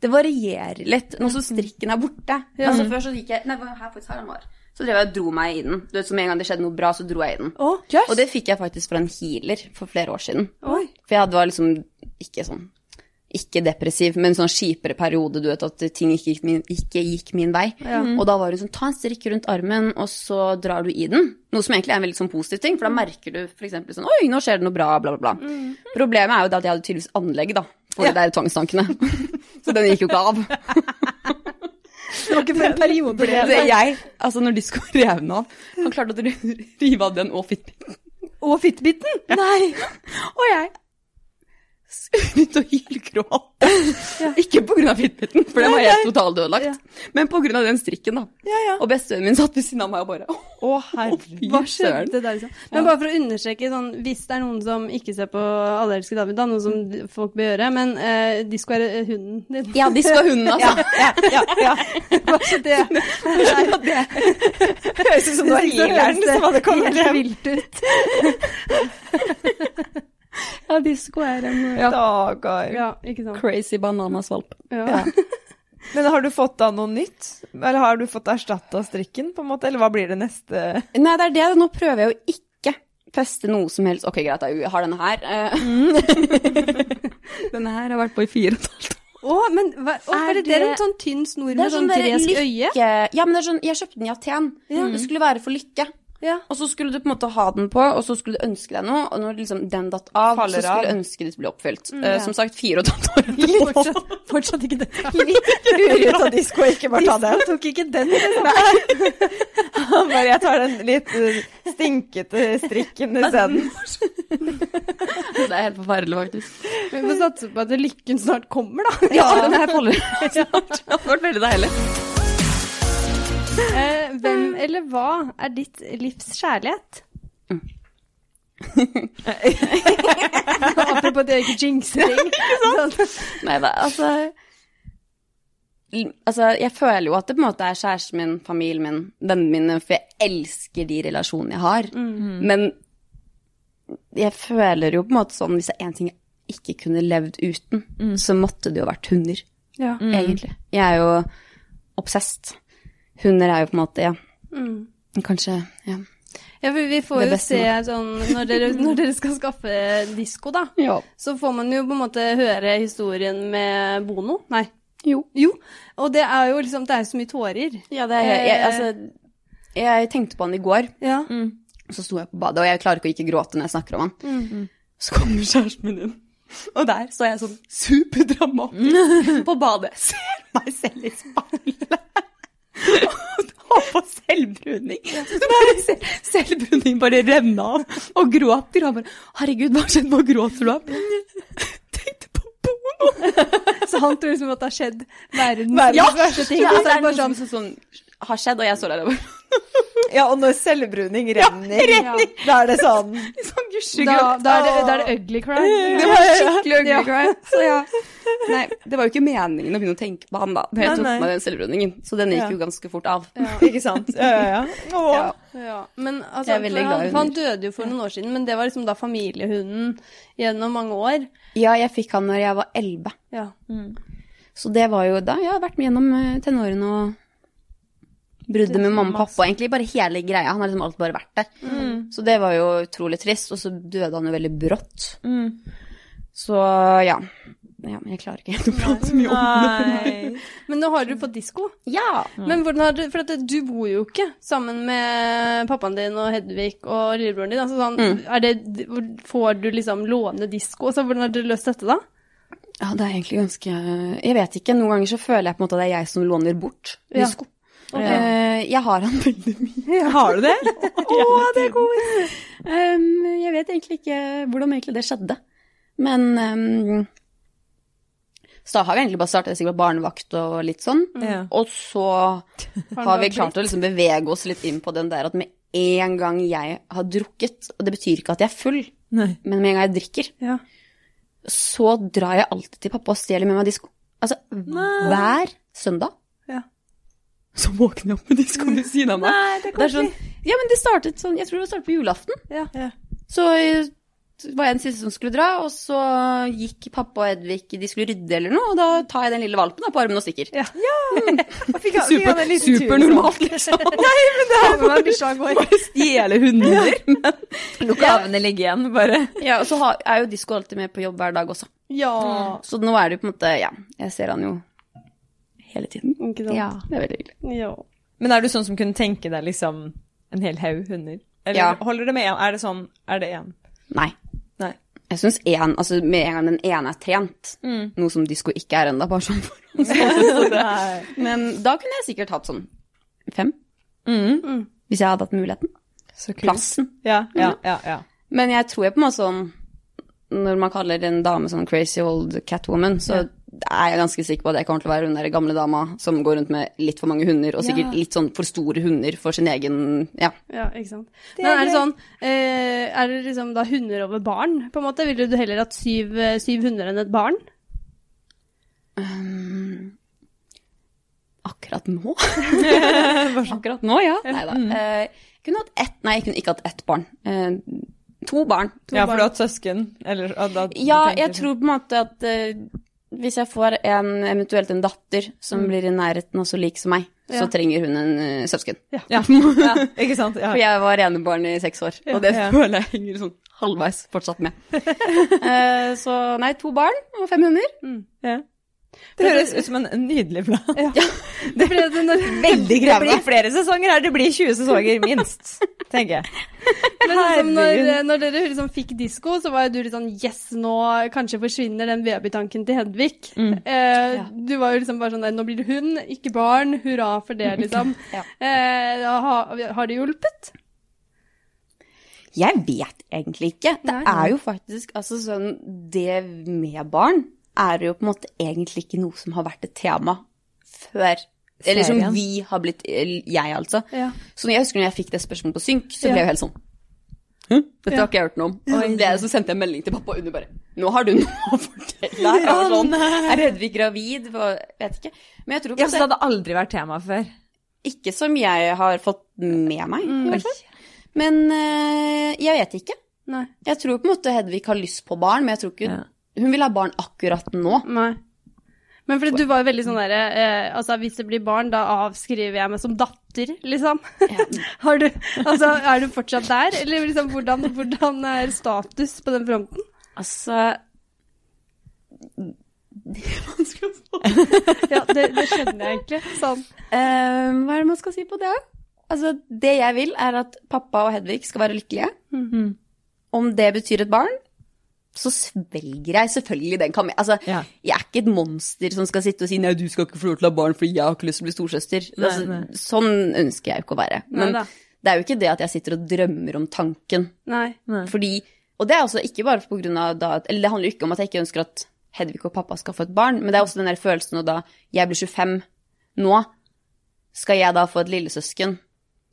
Speaker 3: Det varierer litt nå som strikken er borte. Altså, før så gikk jeg Nei, det var her faktisk her den var. Så drev jeg og dro meg i den. Du vet, Så med en gang det skjedde noe bra, så dro jeg i den.
Speaker 2: Å,
Speaker 3: Og det fikk jeg faktisk fra en healer for flere år siden.
Speaker 2: Oi.
Speaker 3: For jeg hadde var liksom ikke sånn ikke depressiv, men sånn kjipere periode, du vet, at ting ikke gikk min, ikke gikk min vei. Og da var det sånn, ta en strikk rundt armen, og så drar du i den. Noe som egentlig er en veldig sånn positiv ting, for da merker du for eksempel sånn, oi, nå skjer det noe bra, bla, bla, bla. Problemet er jo det at jeg hadde tydeligvis anlegg, da, for de der tvangstankene. så den gikk jo ikke av.
Speaker 1: Det var ikke for en periode.
Speaker 3: Det er jeg, altså når de skulle rev den av, han klarte å rive av den og fitbit.
Speaker 2: Og fitbiten! Nei!
Speaker 3: Og jeg begynte å hylgråte. Ikke pga. fitbiten, for den var helt totalt ødelagt, men pga. den strikken, da.
Speaker 1: Ja, ja.
Speaker 3: Og bestevennen min satt ved siden av meg og bare «Åh,
Speaker 1: Å, herregud.
Speaker 2: Hva
Speaker 3: fy søren».
Speaker 2: skjedde der, liksom? Men bare for å understreke, sånn, hvis det er noen som ikke ser på Alle elsker David, da, noe som d- folk bør gjøre, men eh, disko er eh, hunden din.
Speaker 3: Ja, de skal ha hunden, altså.
Speaker 1: Ja, ja, ja.
Speaker 2: Hva er det?
Speaker 1: Det høres ut som det var healeren som hadde kommet
Speaker 2: helt
Speaker 1: hjem.
Speaker 2: vilt ut.
Speaker 3: Ja, disko er en ja.
Speaker 1: Dager.
Speaker 2: Ja, ikke sant.
Speaker 3: crazy bananasvalp.
Speaker 2: Ja.
Speaker 1: Men har du fått da noe nytt? Eller har du fått erstatta strikken, på en måte? Eller hva blir det neste?
Speaker 3: Nei, det er det. Nå prøver jeg jo ikke feste noe som helst. Ok, greit, da, jeg har denne her. eh. Mm. denne her har vært på i fire og et halvt år.
Speaker 2: Å, men hva, å,
Speaker 3: Er
Speaker 2: er det, det er
Speaker 3: det-
Speaker 2: en sånn tynn snor
Speaker 3: Det
Speaker 2: med
Speaker 3: er sånn
Speaker 2: sånn
Speaker 3: der
Speaker 2: gresk øye?
Speaker 3: lykke... Ja, men det er sånn, jeg kjøpte den i Aten. Det skulle være for lykke.
Speaker 2: Ja.
Speaker 3: Og så skulle du på en måte ha den på, og så skulle du ønske deg noe, og når liksom den datt av,
Speaker 1: Faller
Speaker 3: så skulle
Speaker 1: av.
Speaker 3: ønsket ditt bli oppfylt.
Speaker 2: ja.
Speaker 3: Eh, som sagt, fire og et halvt år etterpå.
Speaker 2: fortsatt ikke det.
Speaker 1: Rur ut av disko og ikke bare ta den.
Speaker 2: Disko tok ikke den.
Speaker 1: Han bare, jeg tar den litt eh, stinkete strikken isteden.
Speaker 3: Det er helt forferdelig, faktisk.
Speaker 2: Vi får satse på at lykken snart kommer, da.
Speaker 3: Ja, den her faller av snart. Det hadde vært veldig deilig.
Speaker 2: Eh, hvem eller hva er ditt livs kjærlighet? Mm. Apropos det å ikke jinxe ting. Sånn.
Speaker 3: Nei da, altså l- Altså, jeg føler jo at det på en måte er kjæresten min, familien min, vennene mine, for jeg elsker de relasjonene jeg har. Men jeg føler jo på en måte sånn Hvis det er én ting jeg ikke kunne levd uten, så måtte det jo vært hunder,
Speaker 2: Ja.
Speaker 3: egentlig. Jeg er jo obsessed. Hunder er jo på en måte, ja.
Speaker 2: Mm.
Speaker 3: Kanskje ja.
Speaker 2: Ja, for vi får
Speaker 3: Det
Speaker 2: jo
Speaker 3: beste
Speaker 2: se sånn når dere, når dere skal skaffe disko, da.
Speaker 3: ja.
Speaker 2: Så får man jo på en måte høre historien med Bono. Nei.
Speaker 3: Jo.
Speaker 2: Jo. Og det er jo liksom Det er jo så mye tårer.
Speaker 3: det er jeg, jeg, Altså, jeg tenkte på han i går.
Speaker 2: Ja.
Speaker 3: Og så sto jeg på badet, og jeg klarer ikke å ikke gråte når jeg snakker om han. Så kommer kjæresten min inn, og der så jeg sånn superdramatisk på badet. Ser meg selv i speilet. Og Har på selvbruning. Så bare ser selvbruning bare renne av, og gråter. Og han bare 'Herregud, hva har skjedd? Hva gråter du av?' Tenkte på porno.
Speaker 2: Så han tror liksom at det har skjedd verdens,
Speaker 3: Ja,
Speaker 2: verste ting.
Speaker 3: ja,
Speaker 2: og så
Speaker 3: det
Speaker 2: er
Speaker 3: er
Speaker 2: det bare
Speaker 3: noe
Speaker 2: sånn
Speaker 3: som, som, som har skjedd, og jeg står der og bare
Speaker 1: Ja, og når selvbruning renner,
Speaker 2: renner.
Speaker 1: da er det sånn
Speaker 3: liksom
Speaker 2: da,
Speaker 3: gusjegråt.
Speaker 2: da, er det, da er det ugly cry.
Speaker 3: Det var skikkelig ugly cry. Så ja. Nei, det var jo ikke meningen å begynne å tenke på han da, da jeg
Speaker 1: Nei,
Speaker 3: tok
Speaker 1: nei.
Speaker 3: meg den selvbruningen. Så den
Speaker 1: Ja.
Speaker 3: gikk jo ganske fort av.
Speaker 1: Ikke sant? Ja, ja, ja. Å.
Speaker 3: Ja.
Speaker 2: Ja, men altså,
Speaker 3: Jeg er veldig
Speaker 2: for
Speaker 3: glad i
Speaker 2: han,
Speaker 3: hunder.
Speaker 2: for han døde jo for noen år siden, men det var liksom da familiehunden gjennom mange år.
Speaker 3: Ja, jeg fikk han når jeg var elleve.
Speaker 2: Ja.
Speaker 3: Så det var jo da jeg har vært med gjennom eh, tenårene og bruddet med mamma og pappa, egentlig. Bare hele greia. Han har liksom alltid bare vært der. Så det var jo utrolig trist. Og så døde han jo veldig brått. Så ja. Ja, men jeg klarer ikke helt å prate så mye om det.
Speaker 1: Nei.
Speaker 2: Men nå har du på disko.
Speaker 3: Ja.
Speaker 2: Men hvordan har du For at du bor jo ikke sammen med pappaen din og Hedvig og lillebroren din. Altså sånn,
Speaker 3: Mm.
Speaker 2: er det, hvor- får du liksom låne disko? Altså, hvordan har dere løst dette, da?
Speaker 3: ja, det er egentlig ganske Jeg vet ikke. Noen ganger så føler jeg på en måte at det er jeg som låner bort
Speaker 2: Ja.
Speaker 3: disko. Eh, Jeg har han veldig mye.
Speaker 1: Har du det? Å, det er god.
Speaker 3: Um, jeg vet egentlig ikke hvordan egentlig det skjedde. Men um, så da har vi egentlig bare startet sikkert barnevakt og litt sånn.
Speaker 1: Ja.
Speaker 3: Og så har vi klart å liksom bevege oss litt inn på den der at med en gang jeg har drukket, og det betyr ikke at jeg er full,
Speaker 1: Nei.
Speaker 3: men med en gang jeg drikker,
Speaker 2: Ja.
Speaker 3: så drar jeg alltid til pappa og stjeler med meg disko. Altså hver søndag.
Speaker 2: Ja.
Speaker 3: Så våkner jeg opp med diskoen ved siden av meg.
Speaker 2: Nei, det er
Speaker 3: Det er sånn, ja, men det startet sånn, jeg tror det startet på julaften.
Speaker 2: Ja. Ja.
Speaker 3: Så eh, var jeg den siste som skulle dra, og så gikk pappa og Edvig, de skulle rydde eller noe, og da tar jeg den lille valpen da, på armen og stikker.
Speaker 2: Ja.
Speaker 1: Fikk han- fikk han en
Speaker 3: Super,
Speaker 1: liten tur,
Speaker 3: supernormalt, liksom.
Speaker 1: Bare stjele hunder. Lokavene ligger igjen, bare.
Speaker 3: Ja, og så har, er jo disko alltid med på jobb hver dag også.
Speaker 2: ja.
Speaker 3: Så nå er det jo på en måte, ja, jeg ser han jo hele tiden.
Speaker 2: Ikke sant?
Speaker 3: Ja, det er veldig hyggelig.
Speaker 2: ja.
Speaker 1: Men er du sånn som kunne tenke deg liksom en hel haug hunder? Eller
Speaker 3: Ja.
Speaker 1: holder det med én? Er det sånn Er det én?
Speaker 3: Nei.
Speaker 1: Nei.
Speaker 3: Jeg syns én, altså med en gang den ene er trent, noe som disko ikke er ennå, bare sånn for oss.
Speaker 1: Nei.
Speaker 3: Men da kunne jeg sikkert hatt sånn fem,
Speaker 1: Mm.
Speaker 3: hvis jeg hadde hatt muligheten.
Speaker 1: Så kult.
Speaker 3: Plassen.
Speaker 1: Ja, ja, ja. ja.
Speaker 3: Men jeg tror jeg på en måte sånn Når man kaller en dame sånn crazy old catwoman, så er jeg ganske sikker på at jeg kommer til å være hun der gamle dama som går rundt med litt for mange hunder, og sikkert litt sånn for store hunder for sin egen Ja.
Speaker 2: Ja, ikke sant.
Speaker 1: Det
Speaker 2: Men
Speaker 1: er
Speaker 2: er det
Speaker 1: gøy.
Speaker 2: sånn eh, Er det liksom da hunder over barn, på en måte? Ville du heller hatt syv, eh, syv hunder enn et barn?
Speaker 3: Akkurat nå? sånn. Akkurat nå, ja. Nei
Speaker 1: Mm.
Speaker 3: da. Jeg Eh, kunne hatt ett Nei, jeg kunne ikke hatt ett barn. Eh, To barn.
Speaker 1: ja for du har hatt søsken? Eller, og da,
Speaker 3: Ja,
Speaker 1: tenker sånn.
Speaker 3: jeg
Speaker 1: du-
Speaker 3: tror på en måte at eh, hvis jeg får en, eventuelt en datter
Speaker 1: Mm.
Speaker 3: som blir i nærheten og så lik som meg,
Speaker 2: Ja.
Speaker 3: så trenger hun en eh, søsken.
Speaker 1: ja. ja, ikke sant? Ja.
Speaker 3: For jeg var enebarn i seks år, og det
Speaker 1: Ja.
Speaker 3: føler jeg henger sånn halvveis fortsatt med. Eh, så nei, to barn og fem hunder.
Speaker 1: Ja. Det høres ut som en nydelig plan.
Speaker 2: Det ble det når,
Speaker 1: Veldig krevende. Det blir flere sesonger her, det blir 20 sesonger minst, tenker jeg.
Speaker 2: men
Speaker 1: altså,
Speaker 2: liksom når,
Speaker 1: Herregud.
Speaker 2: når dere liksom fikk disko, så var jo du litt sånn Yes, nå kanskje forsvinner den babytanken til Hedvig. Eh, Du var jo liksom bare sånn der Nå blir det hund, ikke barn. Hurra for det, liksom.
Speaker 3: Ja.
Speaker 2: eh, da har, har det hjulpet?
Speaker 3: Jeg vet egentlig ikke. Det
Speaker 2: Nei.
Speaker 3: er jo faktisk altså sånn Det med barn er jo på en måte egentlig ikke noe som har vært et tema før. Eller som
Speaker 1: Serien.
Speaker 3: vi har blitt eller Jeg, altså.
Speaker 2: Ja.
Speaker 3: Så når jeg husker når jeg fikk det spørsmålet på Synk, så
Speaker 2: Ja.
Speaker 3: ble jeg jo helt sånn «Hæ? Dette har ikke jeg hørt noe om. Og så, ble jeg, så sendte jeg en melding til pappa og under bare Nå har du noe å fortelle. Jeg var sånn, er Hedvig gravid? Hva- Vet ikke. Men jeg tror på
Speaker 1: Ja,
Speaker 3: en
Speaker 1: så det hadde aldri vært tema før.
Speaker 3: ikke som jeg har fått med meg,
Speaker 2: Mm.
Speaker 3: i hvert fall. Men eh, jeg vet ikke.
Speaker 2: Nei.
Speaker 3: Jeg tror på en måte Hedvig har lyst på barn, men jeg tror ikke
Speaker 1: Ja.
Speaker 3: hun vil ha barn akkurat nå.
Speaker 2: Nei. Men fordi du var jo veldig sånn derre eh, Altså, hvis det blir barn, da avskriver jeg meg som datter, liksom. Har du Altså, er du fortsatt der? Eller liksom, hvordan, hvordan er status på den fronten?
Speaker 3: Altså Det er vanskelig å få
Speaker 2: Ja, det, det skjønner jeg egentlig. Sånn.
Speaker 3: Eh, Hva er det man skal si på det? Altså, det jeg vil, er at pappa og Hedvig skal være lykkelige.
Speaker 1: Mhm.
Speaker 3: Om det betyr et barn, så svelger jeg selvfølgelig den kamelen. Altså,
Speaker 1: Ja.
Speaker 3: jeg er ikke et monster som skal sitte og si 'nei, du skal ikke få lov til å ha barn fordi jeg har ikke lyst til å bli storsøster'. altså,
Speaker 1: nei.
Speaker 3: Sånn ønsker jeg jo ikke å være. Men
Speaker 2: Neida.
Speaker 3: det er jo ikke det at jeg sitter og drømmer om tanken.
Speaker 2: Nei.
Speaker 3: Fordi, og det er også ikke bare på grunn av da, at- eller det handler jo ikke om at jeg ikke ønsker at Hedvig og pappa skal få et barn, men det er også den der følelsen når da jeg blir 25 nå, skal jeg da få et lillesøsken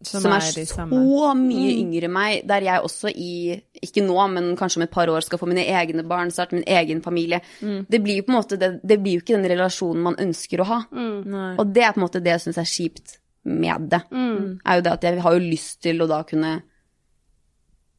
Speaker 3: som, er,
Speaker 1: de
Speaker 3: så
Speaker 1: samme.
Speaker 3: mye yngre enn meg, der jeg også i, ikke nå, men kanskje om et par år skal få mine egne barn, starte min egen familie. Det blir jo på en måte, det, det blir jo ikke den relasjonen man ønsker å ha.
Speaker 2: Mm.
Speaker 1: Nei.
Speaker 3: Og det er på en måte det jeg syns er kjipt med det.
Speaker 2: Mm.
Speaker 3: Er jo det at jeg har jo lyst til å da kunne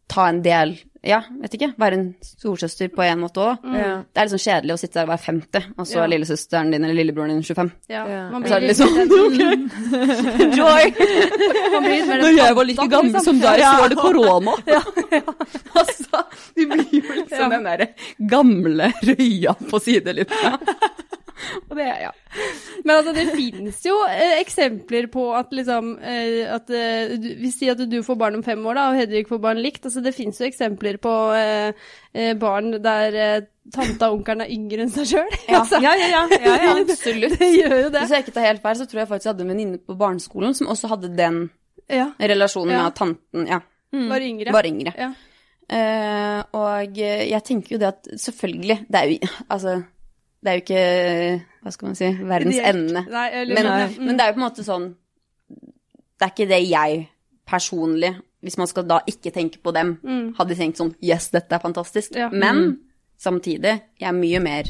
Speaker 3: ta en del Ja, vet ikke. Være en storsøster på en måte òg.
Speaker 1: Ja.
Speaker 3: Det er liksom kjedelig å sitte der og være 50, og så
Speaker 2: Ja.
Speaker 3: er lillesøsteren din eller lillebroren din 25.
Speaker 2: Ja.
Speaker 1: Ja.
Speaker 2: Man
Speaker 3: Så
Speaker 2: blir
Speaker 3: er det
Speaker 2: litt,
Speaker 3: liksom Joy!
Speaker 2: man blir litt mer
Speaker 1: liksom.
Speaker 3: Når jeg var like gammel som deg, så var det korona. Altså, Du blir jo liksom den derre gamle røya på sidelufta. Og det, ja.
Speaker 2: Men altså, det finnes jo eh, eksempler på at liksom eh, at, eh, du- Vi sier at du får barn om fem år, da, og Hedvig får barn likt. Altså, det finnes jo eksempler på eh, eh, barn der eh, tanta og onkelen er yngre enn seg sjøl. altså,
Speaker 1: ja, ja, ja, ja, ja.
Speaker 3: Absolutt.
Speaker 2: det gjør jo det.
Speaker 3: Hvis jeg ikke tar helt feil, så tror jeg faktisk jeg hadde en venninne på barneskolen som også hadde den
Speaker 2: Ja,
Speaker 3: relasjonen med
Speaker 2: Ja.
Speaker 3: at tanten ja,
Speaker 2: Bare yngre.
Speaker 3: var yngre.
Speaker 2: Ja.
Speaker 3: Eh, og eh, jeg tenker jo det at selvfølgelig Det er jo, altså, det er jo ikke Hva skal man si verdens
Speaker 2: Ideelt.
Speaker 3: ende.
Speaker 2: Nei, eller,
Speaker 3: Men, eh,
Speaker 2: nei.
Speaker 3: men det er jo på en måte sånn Det er ikke det jeg personlig, hvis man skal da ikke tenke på dem,
Speaker 2: Mm.
Speaker 3: hadde tenkt sånn Yes, dette er fantastisk.
Speaker 2: Ja.
Speaker 3: Men samtidig, jeg er mye mer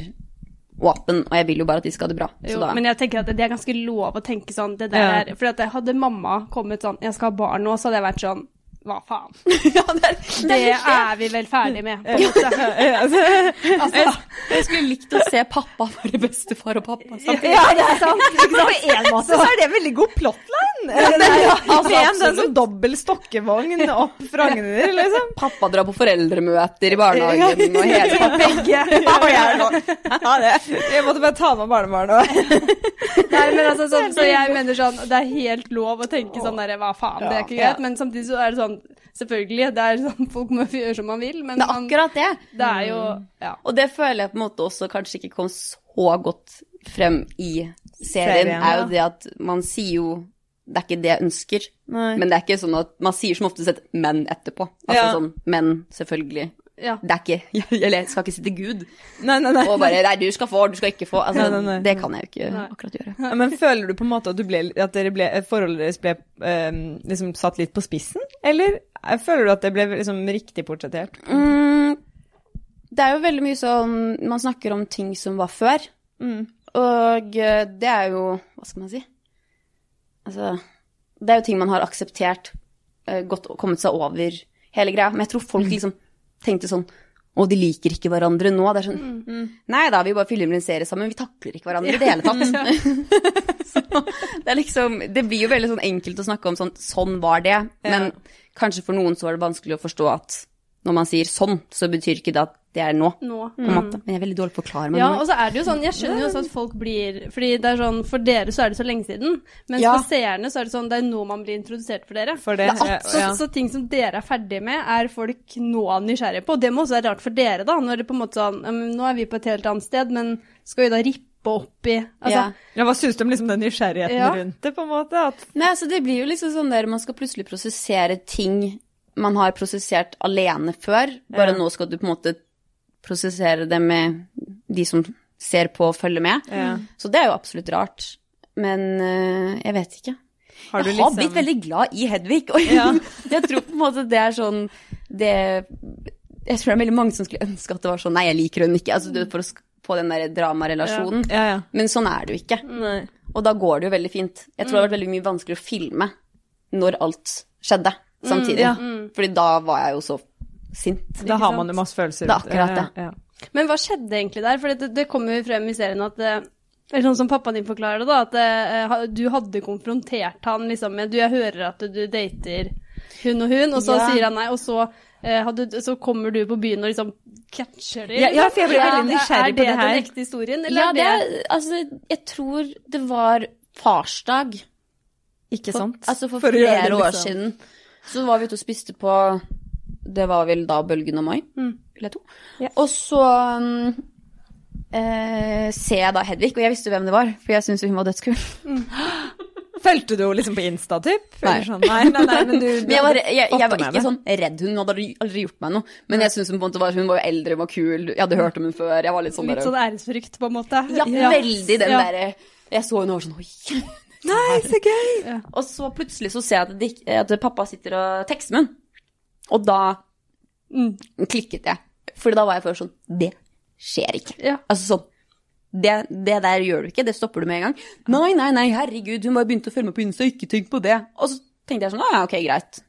Speaker 3: åpen, og jeg vil jo bare at de skal ha det bra. Så
Speaker 2: Jo,
Speaker 3: da
Speaker 2: men jeg tenker at det er ganske lov å tenke sånn. Det der
Speaker 1: Ja.
Speaker 2: er, fordi at hadde mamma kommet sånn 'Jeg skal ha barn nå', så hadde jeg vært sånn Hva faen?
Speaker 3: ja, det er,
Speaker 2: Det er vi vel ferdig med, på en måte.
Speaker 3: altså, Jeg skulle likt å se pappa være bestefar og pappa samtidig.
Speaker 1: Ja, det er sant. På en måte så er det en veldig god plotline. det er,
Speaker 3: altså,
Speaker 1: med en sånn
Speaker 3: absolutt.
Speaker 1: som dobbel stokkevogn opp fra Agner, liksom.
Speaker 3: Pappa drar på foreldremøter i barnehagen og hele
Speaker 1: Begge. Ja, og jeg er sånn. Ja, det. Jeg måtte bare ta med barnebarnet.
Speaker 2: Nei, men altså, sånn, så jeg mener sånn, det er helt lov å tenke sånn der, hva faen, det er ikke
Speaker 1: Ja.
Speaker 2: greit, men samtidig så er det sånn, selvfølgelig, det er sånn, folk må gjøre som man vil, men
Speaker 3: Det er
Speaker 2: man-
Speaker 3: akkurat det.
Speaker 2: det er jo, ja.
Speaker 3: Og det føler jeg på en måte også kanskje ikke kom så godt frem i serien,
Speaker 1: Serien,
Speaker 3: er jo
Speaker 1: ja.
Speaker 3: det at man sier jo Det er ikke det jeg ønsker, men det er ikke sånn at man sier som oftest et 'men' etterpå. Altså
Speaker 1: Ja.
Speaker 3: sånn 'men, selvfølgelig'.
Speaker 2: ja.
Speaker 3: Det er ikke jeg- Eller jeg skal ikke si til Gud
Speaker 1: Nei, nei, nei.
Speaker 3: og bare 'nei, du skal få, du skal ikke få'. Altså,
Speaker 1: Nei, nei, nei.
Speaker 3: Det kan jeg jo ikke
Speaker 2: Nei.
Speaker 3: akkurat gjøre.
Speaker 1: Ja, Men føler du på en måte at, du ble, at dere ble, forholdet deres ble eh, liksom satt litt på spissen? Eller eh, føler du at det ble liksom riktig portrettert?
Speaker 3: Mm, det er jo veldig mye sånn Man snakker om ting som var før.
Speaker 1: Mm.
Speaker 3: Og eh, det er jo Hva skal man si? Altså Det er jo ting man har akseptert, eh, gått, kommet seg over hele greia. Men jeg tror folk liksom tenkte sånn Å, de liker ikke hverandre nå. Det er sånn Nei da, vi bare filmer en serie sammen. Vi takler ikke hverandre i det hele tatt. Så det er liksom Det blir jo veldig sånn enkelt å snakke om sånn Sånn var det. Men kanskje for noen så var det vanskelig å forstå at når man sier sånn, så betyr ikke det at det er nå.
Speaker 2: Nå.
Speaker 3: På en måte. Men jeg er veldig dårlig på å forklare meg
Speaker 2: Ja,
Speaker 3: nå.
Speaker 2: og så er det jo sånn, jeg skjønner jo også at folk blir, fordi det er sånn, for dere så er det så lenge siden, mens
Speaker 3: Ja.
Speaker 2: for seerne så er det sånn, det er nå man blir introdusert for dere.
Speaker 1: For det,
Speaker 3: Det er
Speaker 2: Så,
Speaker 1: ja.
Speaker 2: så ting som dere er ferdige med, er folk nå nysgjerrige på. Og det må også være rart for dere, da. Når det på en måte sånn ja, men Nå er vi på et helt annet sted, men skal vi da rippe opp i Altså,
Speaker 3: Ja.
Speaker 1: ja, Hva syns du om liksom den nysgjerrigheten
Speaker 2: Ja.
Speaker 1: rundt det, på en måte? At
Speaker 3: Nei, så det blir jo liksom sånn der man skal plutselig prosessere ting man har prosessert alene før, bare
Speaker 1: Ja.
Speaker 3: nå skal du på en måte prosessere det med de som ser på og følger med.
Speaker 1: Ja.
Speaker 3: Så det er jo absolutt rart. Men eh, jeg vet ikke.
Speaker 1: har du
Speaker 3: jeg har
Speaker 1: liksom
Speaker 3: blitt veldig glad i Hedvig, og jeg,
Speaker 1: Ja.
Speaker 3: jeg tror på en måte det er sånn det, Jeg tror det er veldig mange som skulle ønske at det var sånn Nei, jeg liker henne ikke. Altså, du, for å sk- få den der dramarelasjonen.
Speaker 1: Ja, ja.
Speaker 3: Men sånn er det jo ikke.
Speaker 1: Nei.
Speaker 3: Og da går det jo veldig fint. Jeg tror det har vært veldig mye vanskeligere å filme når alt skjedde samtidig.
Speaker 1: ja.
Speaker 2: Mm.
Speaker 3: Fordi da var jeg jo så sint.
Speaker 1: Da har
Speaker 2: sant?
Speaker 1: man jo masse følelser.
Speaker 3: Det er
Speaker 1: rundt
Speaker 3: akkurat det.
Speaker 1: Ja, ja.
Speaker 2: Men hva skjedde egentlig der? For det, det kommer jo frem i serien at eh, eller sånn som pappaen din forklarer det, da, at eh, ha- du hadde konfrontert han liksom med Du, jeg hører at du dater hun og hun, og så
Speaker 3: Ja.
Speaker 2: sier han nei, og så, eh, hadde, så kommer du på byen og liksom catcher det.
Speaker 1: Ja, ja, for jeg ble
Speaker 2: liksom.
Speaker 1: veldig nysgjerrig på det her.
Speaker 2: Er det den ekte historien, eller
Speaker 3: Ja,
Speaker 2: er
Speaker 3: det,
Speaker 2: det
Speaker 3: altså, jeg tror det var farsdag.
Speaker 1: Ikke
Speaker 3: For,
Speaker 1: sant?
Speaker 3: altså for,
Speaker 1: å
Speaker 3: flere
Speaker 1: gjøre det,
Speaker 3: år
Speaker 1: liksom.
Speaker 3: siden. Så var vi ute og spiste på Det var vel da Bølgen og Mai, vil jeg tro.
Speaker 1: Mm. Ja.
Speaker 3: Og så mm, eh, ser jeg da Hedvig, og jeg visste jo hvem det var, for jeg syntes jo hun var dødskul.
Speaker 1: Fulgte du henne liksom på Insta, typ?
Speaker 3: Nei.
Speaker 1: Eller Sånn, nei, nei, nei, men du,
Speaker 3: Men jeg var, jeg, jeg var ikke
Speaker 1: det.
Speaker 3: sånn redd hun hadde aldri, aldri gjort meg noe. Men jeg synes hun på en måte var, hun var jo eldre, hun var kul, jeg hadde hørt om hun før. Jeg var litt sånn
Speaker 2: Litt
Speaker 3: der,
Speaker 2: sånn æresfrykt, på en måte.
Speaker 3: ja, veldig den
Speaker 2: Ja.
Speaker 3: derre Jeg så henne og var sånn oi.
Speaker 1: Nei, så gøy!
Speaker 3: Og så plutselig så ser jeg at, det, ikke- at pappa sitter og tekster med henne. Og da
Speaker 2: Mm.
Speaker 3: klikket jeg. For da var jeg først sånn Det skjer ikke.
Speaker 2: Ja.
Speaker 3: Altså sånn det, det der gjør du ikke, det stopper du med en gang. Nei, nei, nei, herregud, hun bare begynte å følge meg på Insta, ikke tenk på det. Og så tenkte jeg sånn, «Å ja, ok, greit.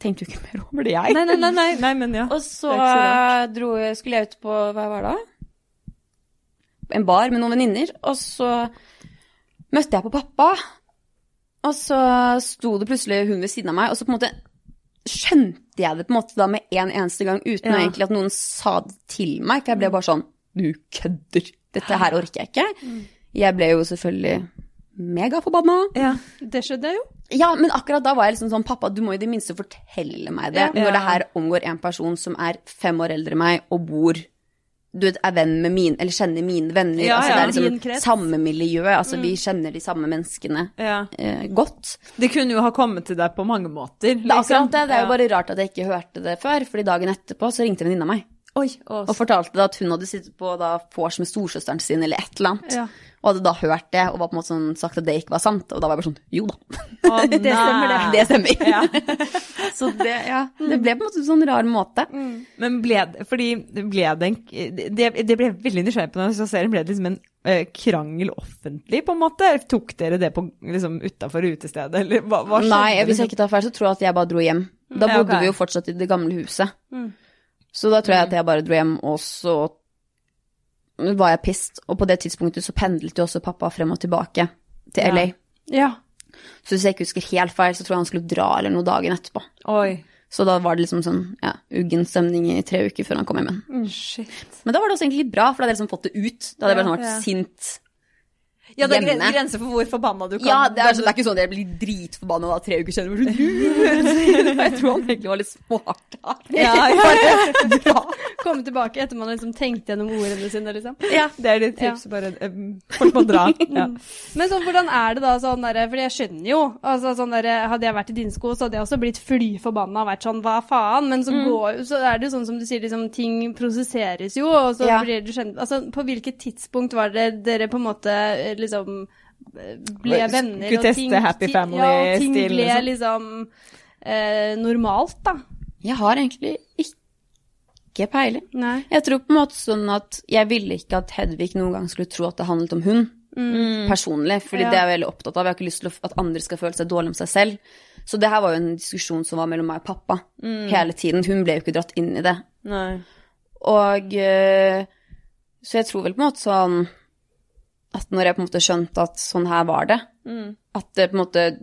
Speaker 3: Tenkte jo ikke mer over det, jeg.
Speaker 1: Nei, nei, nei, nei, nei men ja.
Speaker 3: Og så,
Speaker 1: Det er ikke så
Speaker 3: dro, jeg- skulle jeg ut på Hva var det? da? En bar med noen venninner. Og så møtte jeg på pappa. Og så sto det plutselig hun ved siden av meg, og så på en måte skjønte jeg det på en måte da med en eneste gang, uten
Speaker 1: Ja.
Speaker 3: egentlig at noen sa det til meg. For jeg ble bare sånn Du kødder! Dette her orker jeg ikke.
Speaker 1: Mm.
Speaker 3: Jeg ble jo selvfølgelig megaforbanna.
Speaker 1: Ja.
Speaker 2: Det skjønner jeg jo.
Speaker 3: Ja, men akkurat da var jeg liksom sånn Pappa, du må i det minste fortelle meg det.
Speaker 1: Ja.
Speaker 3: Når det her omgår en person som er fem år eldre enn meg og bor du vet, er venn med mine, eller kjenner mine venner.
Speaker 1: Ja,
Speaker 3: altså,
Speaker 1: ja.
Speaker 3: det er
Speaker 2: Din
Speaker 3: liksom
Speaker 2: krets.
Speaker 3: samme miljø. Altså, Vi kjenner de samme menneskene
Speaker 1: Ja.
Speaker 3: eh, godt.
Speaker 1: Det kunne jo ha kommet til deg på mange måter. liksom.
Speaker 3: Det er akkurat det. Det er jo bare rart at jeg ikke hørte det før, fordi dagen etterpå så ringte en venninne av meg
Speaker 1: Oi, å,
Speaker 3: og fortalte da at hun hadde sittet på da vors med storsøsteren sin eller et eller annet,
Speaker 2: Ja.
Speaker 3: og hadde da hørt det og var på en måte sånn sagt at det ikke var sant, og da var jeg bare sånn jo da,
Speaker 1: å,
Speaker 2: det stemmer, det.
Speaker 1: nei.
Speaker 3: det stemmer.
Speaker 1: Ja.
Speaker 3: så det, ja, det ble på en måte en sånn rar måte.
Speaker 1: Mm. Men ble det Fordi ble det en Det, det ble jeg veldig nysgjerrig på når jeg så serien. Ble det liksom en eh, krangel offentlig, på en måte? Tok dere det på, liksom, utafor utestedet, eller hva, hva skjedde?
Speaker 3: Nei, hvis jeg
Speaker 1: liksom?
Speaker 3: ikke tar feil, så tror jeg at jeg bare dro hjem. Da
Speaker 1: Ja,
Speaker 3: bodde
Speaker 1: ok. Mm.
Speaker 3: vi jo fortsatt i det gamle huset.
Speaker 2: Mm.
Speaker 3: Så da tror jeg at jeg bare dro hjem, og så var jeg pissed. Og på det tidspunktet så pendlet jo også pappa frem og tilbake til
Speaker 1: Ja.
Speaker 3: LA.
Speaker 2: Ja.
Speaker 3: Så hvis jeg ikke husker helt feil, så tror jeg han skulle dra eller noe dagen etterpå.
Speaker 1: Oi.
Speaker 3: Så da var det liksom sånn ja, uggen stemning i tre uker før han kom hjem igjen.
Speaker 1: Mm, Shit.
Speaker 3: Men da var det også egentlig litt bra, for da hadde jeg liksom fått det ut. Da hadde jeg bare sånn vært
Speaker 2: Ja, ja.
Speaker 3: sint.
Speaker 1: Ja, det er gre-
Speaker 3: Hjemme.
Speaker 1: grenser for hvor forbanna du kan
Speaker 3: Ja, det er, så, det er ikke sånn at jeg blir dritforbanna da tre uker senere. hvor du- Jeg tror han egentlig var litt smart.
Speaker 1: Ja, ja, ja.
Speaker 2: Komme tilbake etter man har liksom tenkt gjennom ordene sine, liksom.
Speaker 1: Det er ditt tips. Bare em, folk må dra. Ja.
Speaker 2: Men sånn, hvordan er det da sånn derre Fordi jeg skjønner jo. Altså, sånn derre, hadde jeg vært i dine sko, så hadde jeg også blitt fly forbanna og vært sånn hva faen? Men
Speaker 1: Mm.
Speaker 2: så, går, så er det jo sånn som du sier, liksom, ting prosesseres jo, og så
Speaker 3: Ja.
Speaker 2: blir du kjent Altså, på hvilket tidspunkt var det dere på en måte eh, liksom eh, ble
Speaker 1: Skulle
Speaker 2: venner?
Speaker 1: teste happy
Speaker 2: ti- Ja,
Speaker 1: family-stil,
Speaker 2: ting ble
Speaker 1: liksom.
Speaker 2: liksom eh, normalt, da.
Speaker 3: Jeg har egentlig ikke peiling.
Speaker 2: Nei.
Speaker 3: Jeg tror på en måte sånn at jeg ville ikke at Hedvig noen gang skulle tro at det handlet om hun. Personlig, fordi
Speaker 2: Mm. Ja.
Speaker 3: det er jeg veldig opptatt av. Jeg har ikke lyst til å- at andre skal føle seg dårlig om seg selv. Så det her var jo en diskusjon som var mellom meg og pappa
Speaker 2: Mm.
Speaker 3: hele tiden. Hun ble jo ikke dratt inn i det.
Speaker 1: Nei.
Speaker 3: Og eh, Så jeg tror vel på en måte sånn at når jeg på en måte skjønte at sånn her var det, at det på en måte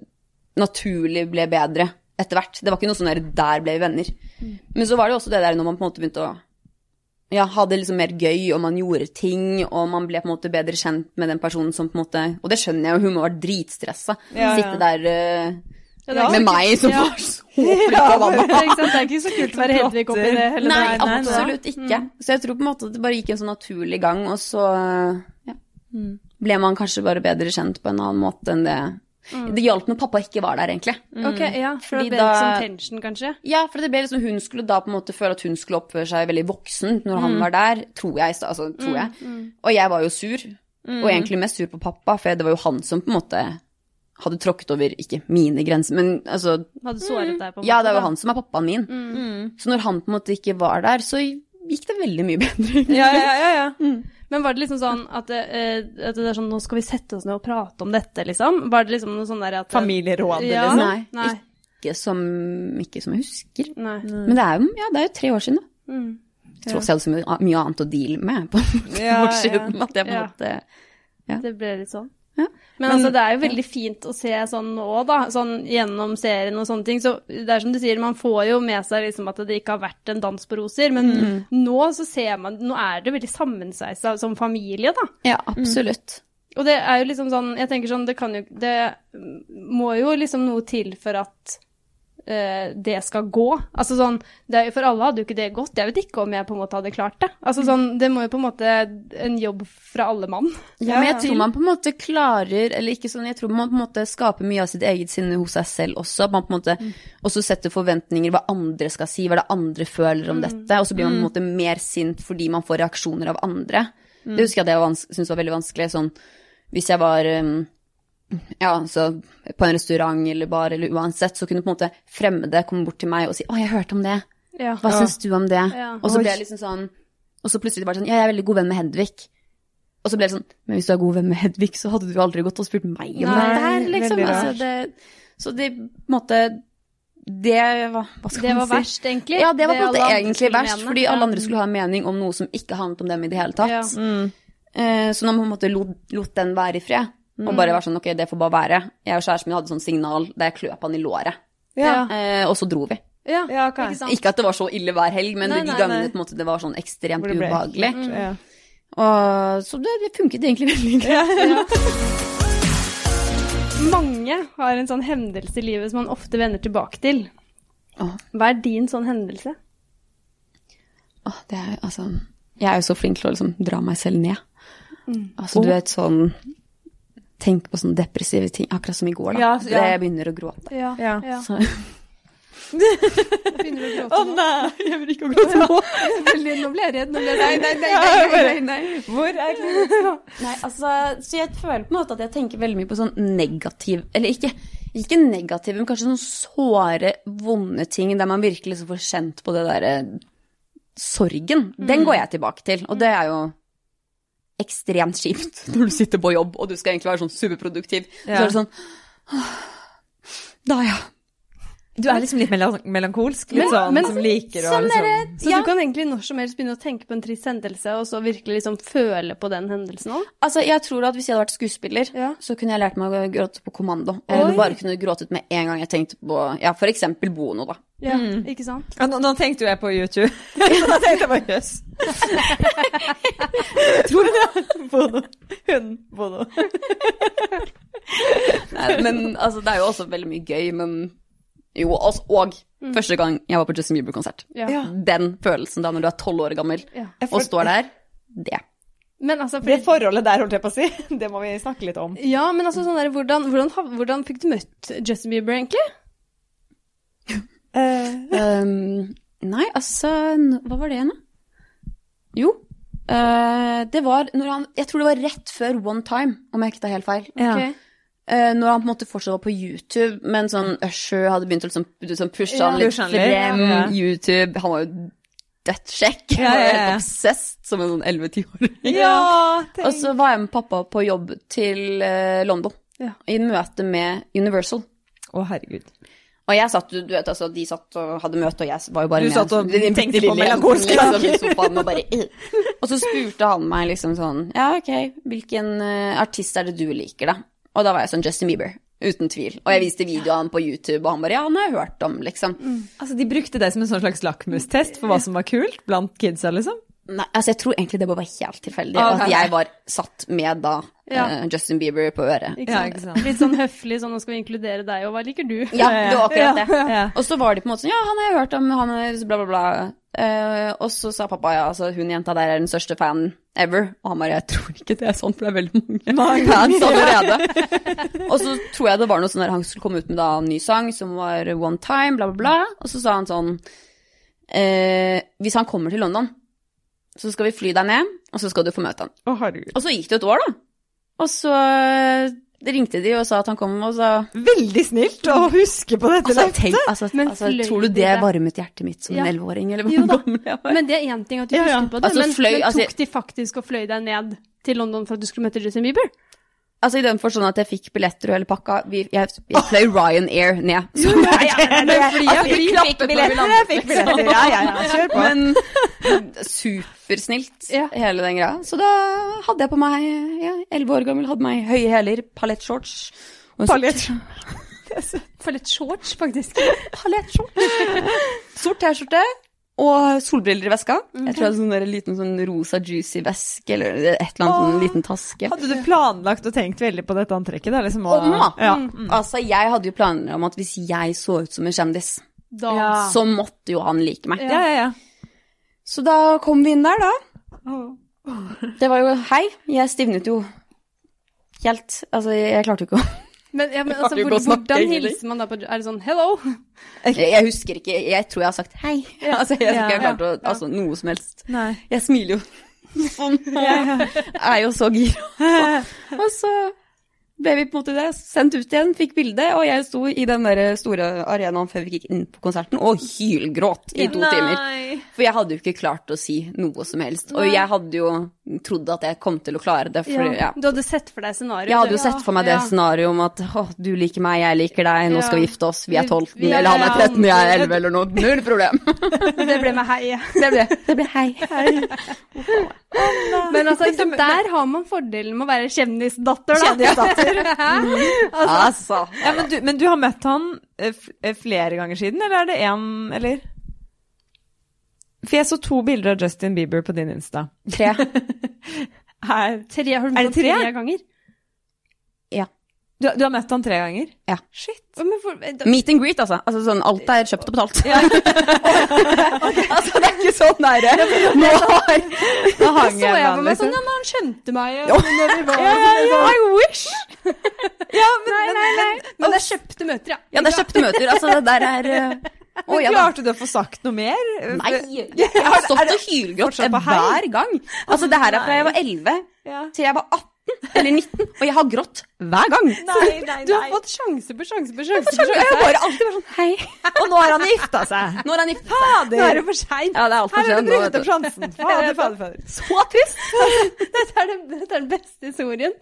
Speaker 3: naturlig ble bedre etter hvert. Det var ikke noe sånn der, der ble vi venner.
Speaker 2: Mm.
Speaker 3: Men så var det jo også det der når man på en måte begynte å ja, ha det liksom mer gøy, og man gjorde ting, og man ble på en måte bedre kjent med den personen som på en måte Og det skjønner jeg jo, hun må ha vært dritstressa.
Speaker 1: Ja, ja.
Speaker 3: Sitte der eh,
Speaker 2: Ja, det er
Speaker 3: med
Speaker 2: ikke-
Speaker 3: meg som
Speaker 2: ja.
Speaker 3: var så forbanna.
Speaker 2: Det er ikke sant, det er ikke så kult å være
Speaker 1: Som
Speaker 2: Hedvig oppi det Mm. hele eh,
Speaker 3: Nei,
Speaker 1: nei, nei.
Speaker 3: absolutt ikke. Så jeg tror på en måte at det bare gikk en sånn naturlig gang, og så eh, ja,
Speaker 2: Mm.
Speaker 3: ble man kanskje bare bedre kjent på en annen måte enn det
Speaker 2: Mm.
Speaker 3: Det hjalp når pappa ikke var der, egentlig.
Speaker 1: Mm.
Speaker 2: Ok, ja, for
Speaker 3: Fordi
Speaker 2: det ble
Speaker 3: da-
Speaker 2: litt sånn tension, kanskje?
Speaker 3: Ja, for det ble liksom hun skulle da på en måte føle at hun skulle oppføre seg veldig voksen når
Speaker 2: Mm.
Speaker 3: han var der, tror jeg. Altså, tror jeg. Og jeg var jo sur,
Speaker 2: Mm.
Speaker 3: og egentlig mest sur på pappa, for det var jo han som på en måte hadde tråkket over ikke mine grenser, men altså
Speaker 2: Hadde såret deg på en måte?
Speaker 3: Ja, det er
Speaker 2: da. Mm.
Speaker 3: jo han som er pappaen min. Så når han på en måte ikke var der, så gikk det veldig mye bedre.
Speaker 1: Ja, ja, ja, ja.
Speaker 2: Men var det liksom sånn at, eh, at det er sånn, nå skal vi sette oss ned og prate om dette, liksom? Var det liksom noe sånn der at
Speaker 1: Familierådet,
Speaker 2: Ja.
Speaker 1: liksom.
Speaker 3: Nei,
Speaker 2: Nei.
Speaker 3: Ikke, som, ikke som jeg husker.
Speaker 2: Nei.
Speaker 3: Men det er jo, ja, det er jo tre år siden, da.
Speaker 2: Mm.
Speaker 3: Jeg tror også jeg hadde så mye, mye annet å deale med på en måte
Speaker 1: Ja,
Speaker 3: år siden. At jeg på en
Speaker 2: Ja.
Speaker 3: måte
Speaker 2: Det ble litt sånn.
Speaker 3: Ja.
Speaker 2: Men, altså, det er jo veldig fint å se sånn nå, da, sånn gjennom serien og sånne ting. Så det er som du sier, man får jo med seg liksom at det ikke har vært en dans på roser, men
Speaker 3: Mm.
Speaker 2: nå så ser man Nå er det veldig sammensveisa som familie, da.
Speaker 3: Ja, absolutt.
Speaker 2: Og det er jo liksom sånn Jeg tenker sånn, det kan jo Det må jo liksom noe til for at eh, det skal gå. Altså sånn det er, jo- For alle hadde jo ikke det gått. Jeg vet ikke om jeg på en måte hadde klart det. Altså sånn Det må jo på en måte en jobb fra alle mann.
Speaker 3: Ja, men jeg tror man på en måte klarer, eller ikke sånn, jeg tror man på en måte skaper mye av sitt eget sinne hos seg selv også. At man på en måte også setter forventninger hva andre skal si, hva det andre føler om dette. Og så blir man på en måte mer sint fordi man får reaksjoner av andre. Det husker jeg at jeg vans- syntes var veldig vanskelig. Sånn hvis jeg var um, ja, så på en restaurant eller bar eller uansett, så kunne på en måte fremmede komme bort til meg og si 'Å, jeg hørte om det'.
Speaker 2: Ja.
Speaker 3: Hva syns du om det?
Speaker 2: Ja.
Speaker 3: Og så
Speaker 1: Oi.
Speaker 3: ble jeg liksom sånn Og så plutselig bare sånn Ja, jeg er veldig god venn med Hedvig. Og så ble det sånn Men hvis du er god venn med Hedvig, så hadde du jo aldri gått og spurt meg
Speaker 2: Nei,
Speaker 3: om det her, liksom.
Speaker 1: veldig
Speaker 3: Altså,
Speaker 1: rart.
Speaker 3: det, så det på en måte Det var Hva skal
Speaker 2: Det var
Speaker 3: man si?
Speaker 2: verst, egentlig.
Speaker 3: Ja, det var på en
Speaker 2: alle
Speaker 3: måte
Speaker 2: andre
Speaker 3: egentlig
Speaker 2: skulle
Speaker 3: verst,
Speaker 2: mene.
Speaker 3: fordi alle
Speaker 2: Ja.
Speaker 3: andre skulle ha en mening om noe som ikke handlet om dem i det hele
Speaker 2: Ja.
Speaker 3: tatt.
Speaker 1: Mm.
Speaker 3: Eh, Så når man på en måte lot, lot den være i fred, og bare var sånn ok, det får bare være. Jeg og kjæresten min hadde sånn signal der jeg kløp han i låret,
Speaker 1: Ja.
Speaker 3: Eh, og så dro vi.
Speaker 1: Ja,
Speaker 2: ikke
Speaker 1: kanskje.
Speaker 2: sant?
Speaker 3: Ikke at det var så ille hver helg, men
Speaker 1: Nei,
Speaker 3: det- de
Speaker 1: nei,
Speaker 3: gangene
Speaker 1: nei.
Speaker 3: på en måte, det var sånn ekstremt
Speaker 1: Hvor det ble Mm.
Speaker 3: ubehagelig.
Speaker 1: ekkelt, ja.
Speaker 3: Og, så det, det funket egentlig veldig greit.
Speaker 2: Mange har en sånn hendelse i livet som man ofte vender tilbake til.
Speaker 3: Åh.
Speaker 2: Hva er din sånn hendelse?
Speaker 3: Åh, det er, altså, jeg er jo så flink til å liksom dra meg selv ned.
Speaker 1: Mm.
Speaker 3: Altså, du vet sånn Tenk på sånne depressive ting, akkurat som i går, da.
Speaker 2: Ja, så- ja.
Speaker 3: Det jeg begynner å gråte.
Speaker 2: Ja.
Speaker 1: Ja.
Speaker 3: Så,
Speaker 2: Begynner du å gråte nå?
Speaker 1: nei, jeg vil ikke gråte nå.
Speaker 2: Veldig- Nå ble jeg redd. Nå ble jeg redd.
Speaker 3: nei, nei,
Speaker 1: nei, nei,
Speaker 3: nei.
Speaker 1: Hvor er
Speaker 3: Nei, altså, så jeg føler på en måte at jeg tenker veldig mye på sånn negativ Eller ikke, ikke negativ, men kanskje sånn såre, vonde ting der man virkelig liksom får kjent på det derre sorgen.
Speaker 2: Mm.
Speaker 3: Den går jeg tilbake til, og det er jo ekstremt kjipt når du sitter på jobb og du skal egentlig være sånn superproduktiv. Og Så
Speaker 1: Ja.
Speaker 3: er det sånn «Åh, Da, ja.
Speaker 1: Du er liksom litt melan- melankolsk? Litt
Speaker 2: Men-
Speaker 1: sånn
Speaker 2: men-
Speaker 1: som liker å
Speaker 3: sånn er
Speaker 1: liksom
Speaker 2: Så
Speaker 3: Ja.
Speaker 2: du kan egentlig når som helst begynne å tenke på en trist hendelse, og så virkelig liksom føle på den hendelsen òg?
Speaker 3: Altså, jeg tror at hvis jeg hadde vært skuespiller,
Speaker 2: Ja.
Speaker 3: så kunne jeg lært meg å gråte på kommando. Jeg
Speaker 2: Oi.
Speaker 3: hadde bare kunne gråtet med en gang jeg tenkte på ja, for eksempel Bono, da.
Speaker 2: Ja,
Speaker 3: Mm.
Speaker 2: ikke sant?
Speaker 1: ja, nå, nå tenkte jo jeg på YouTube. nå tenkte jeg bare jøss. Tror du det? Bono. Hun Bono.
Speaker 3: Nei, men altså, det er jo også veldig mye gøy, men jo, altså, og
Speaker 1: Mm.
Speaker 3: første gang jeg var på Justin Bieber-konsert.
Speaker 2: Ja.
Speaker 1: Ja.
Speaker 3: Den følelsen da når du er tolv år gammel
Speaker 2: Ja.
Speaker 1: Jeg
Speaker 3: og
Speaker 1: får-
Speaker 3: står der, det.
Speaker 2: Men altså,
Speaker 1: Det
Speaker 2: fordi-
Speaker 1: forholdet der, holdt jeg på å si, det må vi snakke litt om.
Speaker 2: ja, men altså sånn der, hvordan, hvordan, hav- hvordan fikk du møtt Justin Bieber, egentlig?
Speaker 3: Ehm, nei, altså, n- hva var det igjen, da? Jo, eh, det var når han Jeg tror det var rett før One Time, om jeg ikke tar helt feil.
Speaker 1: Ja.
Speaker 2: Ok.
Speaker 3: Eh, når han på en måte fortsatt var på YouTube, men sånn Usher hadde begynt å liksom, liksom pushe
Speaker 2: Ja.
Speaker 3: han litt
Speaker 1: Pushe han litt,
Speaker 3: frem.
Speaker 1: ja.
Speaker 3: YouTube Han var jo dødssjekk. Han
Speaker 1: Ja,
Speaker 3: var
Speaker 1: ja,
Speaker 3: jo
Speaker 1: ja.
Speaker 3: helt obsessed som en sånn 11-10-åring.
Speaker 1: Ja!
Speaker 3: Og så var jeg med pappa på jobb til eh, London,
Speaker 2: Ja.
Speaker 3: i møte med Universal.
Speaker 1: Å, herregud.
Speaker 3: Og jeg satt, du vet, altså, de satt og hadde møte, og jeg var jo bare
Speaker 1: Du
Speaker 3: med.
Speaker 1: satt og
Speaker 3: De- de-
Speaker 1: tenkte
Speaker 3: de-
Speaker 1: på
Speaker 3: de-
Speaker 1: melankolske
Speaker 3: liksom,
Speaker 1: tanker.
Speaker 3: i sofaen og bare «Ih». Og så spurte han meg liksom sånn, ja, ok, hvilken eh, artist er det du liker da? Og da var jeg sånn, Justin Bieber, uten tvil. Og jeg viste videoen på YouTube, og han bare, ja, han har jeg hørt om, liksom.
Speaker 1: Altså, De brukte det som en sånn slags lakmustest for hva som var kult blant kidsa, liksom.
Speaker 3: Nei, altså jeg tror egentlig det bare var helt tilfeldig,
Speaker 1: Ah,
Speaker 3: og at
Speaker 1: ok.
Speaker 3: jeg var satt med da
Speaker 2: Ja.
Speaker 3: eh, Justin Bieber på øret.
Speaker 2: Ikke
Speaker 1: Ja,
Speaker 2: sant?
Speaker 1: ikke sant.
Speaker 2: Litt sånn høflig sånn 'nå skal vi inkludere deg', og 'hva liker du'?
Speaker 3: Ja, det var akkurat det.
Speaker 1: Eh, Ja.
Speaker 3: Og så var de på en måte sånn, ja, han har jeg hørt om, han er bla, bla, bla. Eh, og så sa pappa, ja, altså hun jenta der er den største fanen ever. Og han bare, jeg tror ikke det er sånn, for det er veldig mange fans allerede. og så tror jeg det var noe sånn der, han skulle komme ut med da en ny sang som var One Time, bla, bla, bla. Og så sa han sånn, eh, hvis han kommer til London, så skal vi fly deg ned, og så skal du få møte han.
Speaker 1: Å, herregud.
Speaker 3: Og så gikk det et år da. Og så eh, ringte de og sa at han kom, og så...
Speaker 1: Veldig snilt å huske på dette.
Speaker 3: Altså,
Speaker 1: Leif.
Speaker 3: tenk, altså,
Speaker 2: Men
Speaker 3: altså,
Speaker 2: fløy
Speaker 3: tror du
Speaker 2: de
Speaker 3: det
Speaker 2: det?
Speaker 3: varmet hjertet mitt som
Speaker 2: Ja.
Speaker 3: en elleveåring, eller
Speaker 2: Jo
Speaker 3: hvor
Speaker 2: da.
Speaker 3: gammel jeg var?
Speaker 2: Men det er én ting at du
Speaker 1: Ja,
Speaker 2: husker
Speaker 1: ja.
Speaker 2: på det,
Speaker 3: Altså,
Speaker 2: men,
Speaker 3: fløy-
Speaker 2: men
Speaker 3: altså-
Speaker 2: tok de faktisk og fløy deg ned til London for at du skulle møte Justin Bieber?
Speaker 3: Altså, I den forstand at jeg fikk billetter og hele pakka vi, Jeg, jeg fløy Ryanair ned. Så jeg, Altså,
Speaker 1: jeg fikk billetter, jeg fikk billetter. Ja, ja, ja, kjør på.
Speaker 3: Men supersnilt,
Speaker 2: Ja.
Speaker 3: hele den greia. Så da hadde jeg på meg ja, 11 år gammel, hadde meg høye hæler, paljettshorts. og en
Speaker 1: Paljettshorts.
Speaker 2: For litt shorts, faktisk.
Speaker 3: Palettskjorte. Sort T-skjorte og solbriller i veska.
Speaker 2: Mhm.
Speaker 3: Jeg tror jeg hadde sånn der liten sånn rosa juicy veske eller et eller annet sånn liten taske.
Speaker 1: Hadde du planlagt og tenkt veldig på dette antrekket? Da, liksom, og,
Speaker 3: Om, da.
Speaker 1: ja.
Speaker 3: Altså, jeg hadde jo planer om at hvis jeg så ut som en kjendis,
Speaker 2: Da.
Speaker 1: Ja.
Speaker 3: så måtte jo han like meg.
Speaker 1: ja, ja, ja.
Speaker 3: Så da kom vi inn der, da. Det var jo hei. Jeg stivnet jo helt. Altså, jeg klarte jo ikke å
Speaker 2: Men, ja, men
Speaker 3: kan
Speaker 2: altså,
Speaker 3: jo
Speaker 2: hvor,
Speaker 3: godt snakke
Speaker 2: hvordan
Speaker 3: engelsk.
Speaker 2: hilser man da på Er det sånn 'hello'?
Speaker 3: Jeg jeg husker ikke. Jeg tror jeg har sagt hei. Altså, jeg tror ikke jeg
Speaker 1: Ja.
Speaker 3: klarte å Altså, noe som helst.
Speaker 1: Nei.
Speaker 3: Jeg smiler jo sånn. Jeg er jo så gira. Og så ble vi på en måte det, sendt ut igjen, fikk bilde, og jeg sto i den der store arenaen før vi gikk inn på konserten og hylgråt i to timer. For jeg hadde jo ikke klart å si noe som helst. Og jeg hadde jo trodd at jeg kom til å klare det. For, ja.
Speaker 2: Du hadde sett for deg scenarioet?
Speaker 3: Jeg hadde
Speaker 2: du.
Speaker 3: jo sett for meg det
Speaker 2: Ja.
Speaker 3: scenarioet om at å, du liker meg, jeg liker deg, nå skal vi
Speaker 2: Ja.
Speaker 3: gifte oss, vi er
Speaker 2: Vi-
Speaker 3: 12,
Speaker 2: vi er-
Speaker 3: eller han er 13, jeg er
Speaker 2: ja.
Speaker 3: 11 eller noe. Null problem.
Speaker 2: Det ble med hei.
Speaker 3: Det ble, det ble hei.
Speaker 2: Men altså, ikke sant, der har man fordelen med å være kjendisdatter, da.
Speaker 1: Kjendisdatter.
Speaker 2: altså,
Speaker 3: Altså.
Speaker 1: Ja, men, du, men du har møtt han eh, f- eh, flere ganger siden, eller er det én, eller? For jeg så to bilder av Justin Bieber på din Insta.
Speaker 3: Tre.
Speaker 1: Her.
Speaker 2: Tre, har
Speaker 1: Er
Speaker 2: du
Speaker 1: det
Speaker 2: fått tre?
Speaker 1: tre?
Speaker 2: ganger?
Speaker 1: Du, du har møtt han tre ganger?
Speaker 3: Ja.
Speaker 1: Shit.
Speaker 2: Å, Men for, eh, da-
Speaker 3: Meet and greet, altså. altså sånn, alt er kjøpt og betalt. altså, det er ikke sånn nære. Nå har
Speaker 1: Da
Speaker 2: da
Speaker 1: hang
Speaker 2: så jeg på
Speaker 1: han,
Speaker 2: meg sånn,
Speaker 1: liksom.
Speaker 2: ja, men han skjønte meg.
Speaker 3: Ja.
Speaker 2: Og, når vi var,
Speaker 1: Ja, ja, ja, I wish! ja, men,
Speaker 2: Men det er kjøpte møter, ja.
Speaker 3: Ja, det er kjøpte møter. Altså, det der er eh, Å ja da.
Speaker 1: klarte du å få sagt noe mer?
Speaker 3: Nei. Jeg har stått og hylgrått
Speaker 1: fortsatt på hei?
Speaker 3: hver gang. Altså, det her er fra jeg var 11
Speaker 1: Ja.
Speaker 3: til jeg var 18 eller 19, og jeg har grått hver gang.
Speaker 1: Nei, nei,
Speaker 2: Du har
Speaker 1: nei.
Speaker 2: fått sjanse på sjanse på sjanse.
Speaker 3: Jeg har bare alltid vært sånn Hei.
Speaker 1: Og nå har han gifta seg.
Speaker 3: Når er han gift?
Speaker 1: Fader!
Speaker 2: Nå er det for seint.
Speaker 3: Ja, det er alt for
Speaker 1: Her har
Speaker 3: sent
Speaker 1: du
Speaker 3: nå,
Speaker 1: brukt
Speaker 3: vet
Speaker 1: opp
Speaker 3: du.
Speaker 1: sjansen. Fader, fader, fader.
Speaker 3: Så trist.
Speaker 2: Dette er, den- dette er den beste historien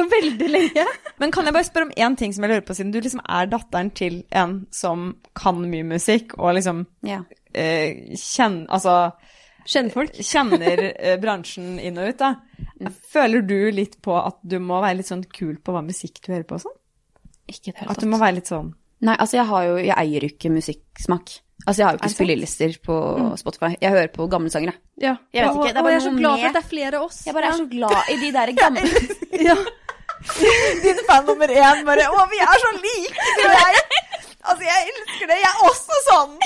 Speaker 2: på veldig lenge.
Speaker 1: Men kan jeg bare spørre om én ting som jeg lurer på, siden du liksom er datteren til en som kan mye musikk, og liksom
Speaker 3: Ja.
Speaker 1: eh, kjenn, altså,
Speaker 2: Kjennfolk.
Speaker 1: kjenner eh, bransjen inn og ut, da. Føler du litt på at du må være litt sånn kul på hva musikk du hører på og sånn?
Speaker 3: Ikke det
Speaker 1: At du må være litt sånn
Speaker 3: Nei, altså jeg har jo Jeg eier jo ikke musikksmak. Altså jeg
Speaker 1: Er
Speaker 3: har jo ikke
Speaker 1: det sant?
Speaker 3: spillelister på Spotify. Jeg hører på gamle sanger, jeg.
Speaker 2: Ja.
Speaker 3: Jeg vet ikke, det er
Speaker 2: og
Speaker 3: bare
Speaker 2: jeg er så
Speaker 3: noe
Speaker 2: glad for
Speaker 3: med-
Speaker 2: at det er flere av oss.
Speaker 3: Jeg bare er så glad i de der gamle
Speaker 2: ja.
Speaker 1: Din fan nummer én bare Å, vi er så like, du og jeg. Altså, jeg elsker det. Jeg er også sånn.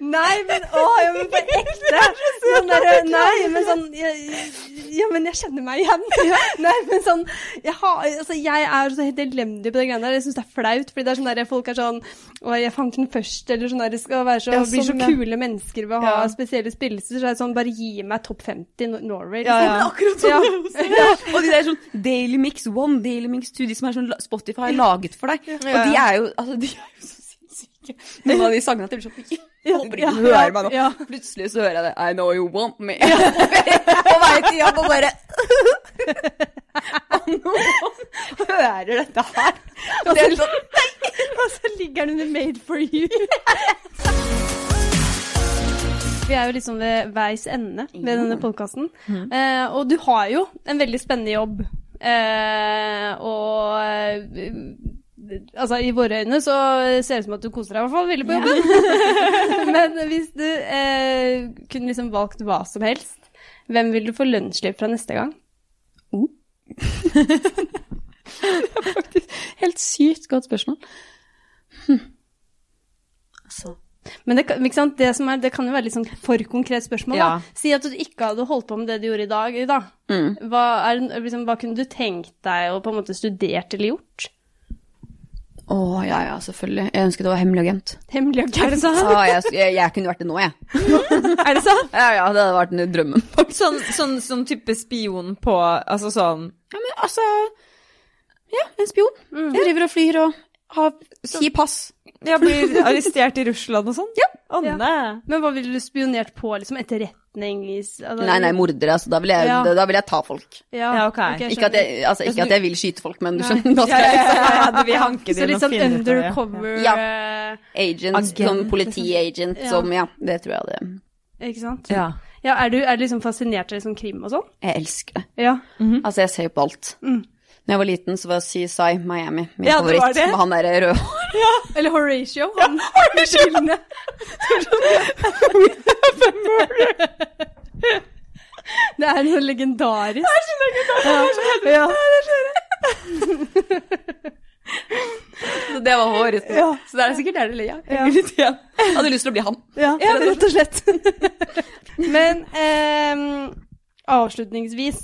Speaker 2: Nei, men å, ja, men på ekte. Sånn der, nei, men sånn jeg, Ja, men jeg kjenner meg igjen. Nei, men sånn Jeg, har, altså, jeg er så helt elendig på det greiene der. Jeg syns det er flaut, fordi det er sånn der folk er sånn Å, jeg fant den først, eller sånn der. Det skal være så,
Speaker 1: Ja,
Speaker 2: blir så
Speaker 1: sånn, ja.
Speaker 2: kule mennesker ved å ha
Speaker 1: Ja.
Speaker 2: spesielle spillelser. Så er det sånn Bare gi meg topp 50 Nor- Norway. liksom.
Speaker 1: Ja, ja.
Speaker 3: Akkurat
Speaker 2: Ja.
Speaker 3: Og de der sånn Daily Mix 1, Daily Mix 2, de som er sånn la- Spotify har laget for deg. Og
Speaker 1: Ja,
Speaker 3: de
Speaker 1: ja.
Speaker 3: er jo altså, de er jo så sinnssyke. Noen av de sangene at jeg blir sånn Jeg håper
Speaker 2: ja,
Speaker 3: ikke du hører meg nå.
Speaker 2: ja.
Speaker 3: Plutselig så hører jeg det I know you want me. På vei til jobb og bare Og noen hører dette her. Og det er sånn
Speaker 2: Og så ligger den under Made for you. Vi er jo liksom ved veis ende ved denne podkasten. Eh, og du har jo en veldig spennende jobb. Eh, og eh, altså, i våre øyne så ser det ut som at du koser deg i hvert fall veldig på jobben. Men hvis du eh, kunne liksom valgt hva som helst, hvem vil du få lønnsslipp fra neste gang?
Speaker 3: Oh. det er faktisk helt sykt godt spørsmål. Hm. Altså
Speaker 2: Men det, kan- ikke sant? det, som er, det kan jo være litt sånn for konkret spørsmål.
Speaker 1: Ja. Mm.
Speaker 2: Da. Si at du ikke hadde holdt på med det du gjorde i dag. Da. Hva, er, liksom, hva kunne du tenkt deg å på en måte studert eller gjort?
Speaker 3: Å, ja, ja, selvfølgelig. Jeg ønsket det var hemmelig agent.
Speaker 2: Hemmelig og
Speaker 1: Er det sant?
Speaker 3: Ah, jeg, jeg, jeg kunne vært det nå, jeg.
Speaker 1: Er det sant?
Speaker 3: Ja, ja, det hadde vært den drømmen.
Speaker 1: Sånn, sånn, sånn type spion på Altså sånn
Speaker 3: Ja, men altså Ja, en spion. Jeg driver og flyr og har si pass.
Speaker 1: Jeg blir arrestert i Russland og sånn? Ja. Ånne.
Speaker 2: Men hva ville du spionert på? Liksom etterretning? i s- altså-
Speaker 3: Nei, nei, mordere, altså. Da vil jeg,
Speaker 2: Ja.
Speaker 3: da, da vil jeg ta folk.
Speaker 2: Ja,
Speaker 1: Ja, ok.
Speaker 2: ok,
Speaker 3: Ikke at jeg, altså, ikke at jeg vil skyte folk, men du skjønner da
Speaker 1: Ja, ja,
Speaker 3: skal jeg
Speaker 1: ja, ja, ja, det vil hanke
Speaker 2: Så
Speaker 1: din
Speaker 2: litt
Speaker 1: og
Speaker 2: sånn
Speaker 1: finne ut av det.
Speaker 2: undercover
Speaker 3: Ja.
Speaker 2: eh,
Speaker 3: Agent,
Speaker 1: Agent,
Speaker 3: som politiagent,
Speaker 2: liksom.
Speaker 3: som Ja, det tror jeg det
Speaker 2: Ikke sant?
Speaker 1: Ja.
Speaker 2: Ja, er, du, er du liksom fascinert av liksom krim og sånn?
Speaker 3: Jeg elsker det.
Speaker 2: Ja.
Speaker 3: Altså, jeg ser jo på alt. Når jeg var liten, så var CSI Miami min
Speaker 1: Ja, det var
Speaker 3: favoritt.
Speaker 1: det.
Speaker 3: Med han derre røde
Speaker 2: Eller Horatio. Han, Horatio! Det er noe legendarisk. Det er så legendarisk! Ja.
Speaker 3: Det var håret.
Speaker 2: Ja.
Speaker 3: Så det er sikkert der det ligger.
Speaker 2: Ja.
Speaker 3: Jeg hadde lyst til å bli han.
Speaker 2: Ja, rett og slett. Men ehm, avslutningsvis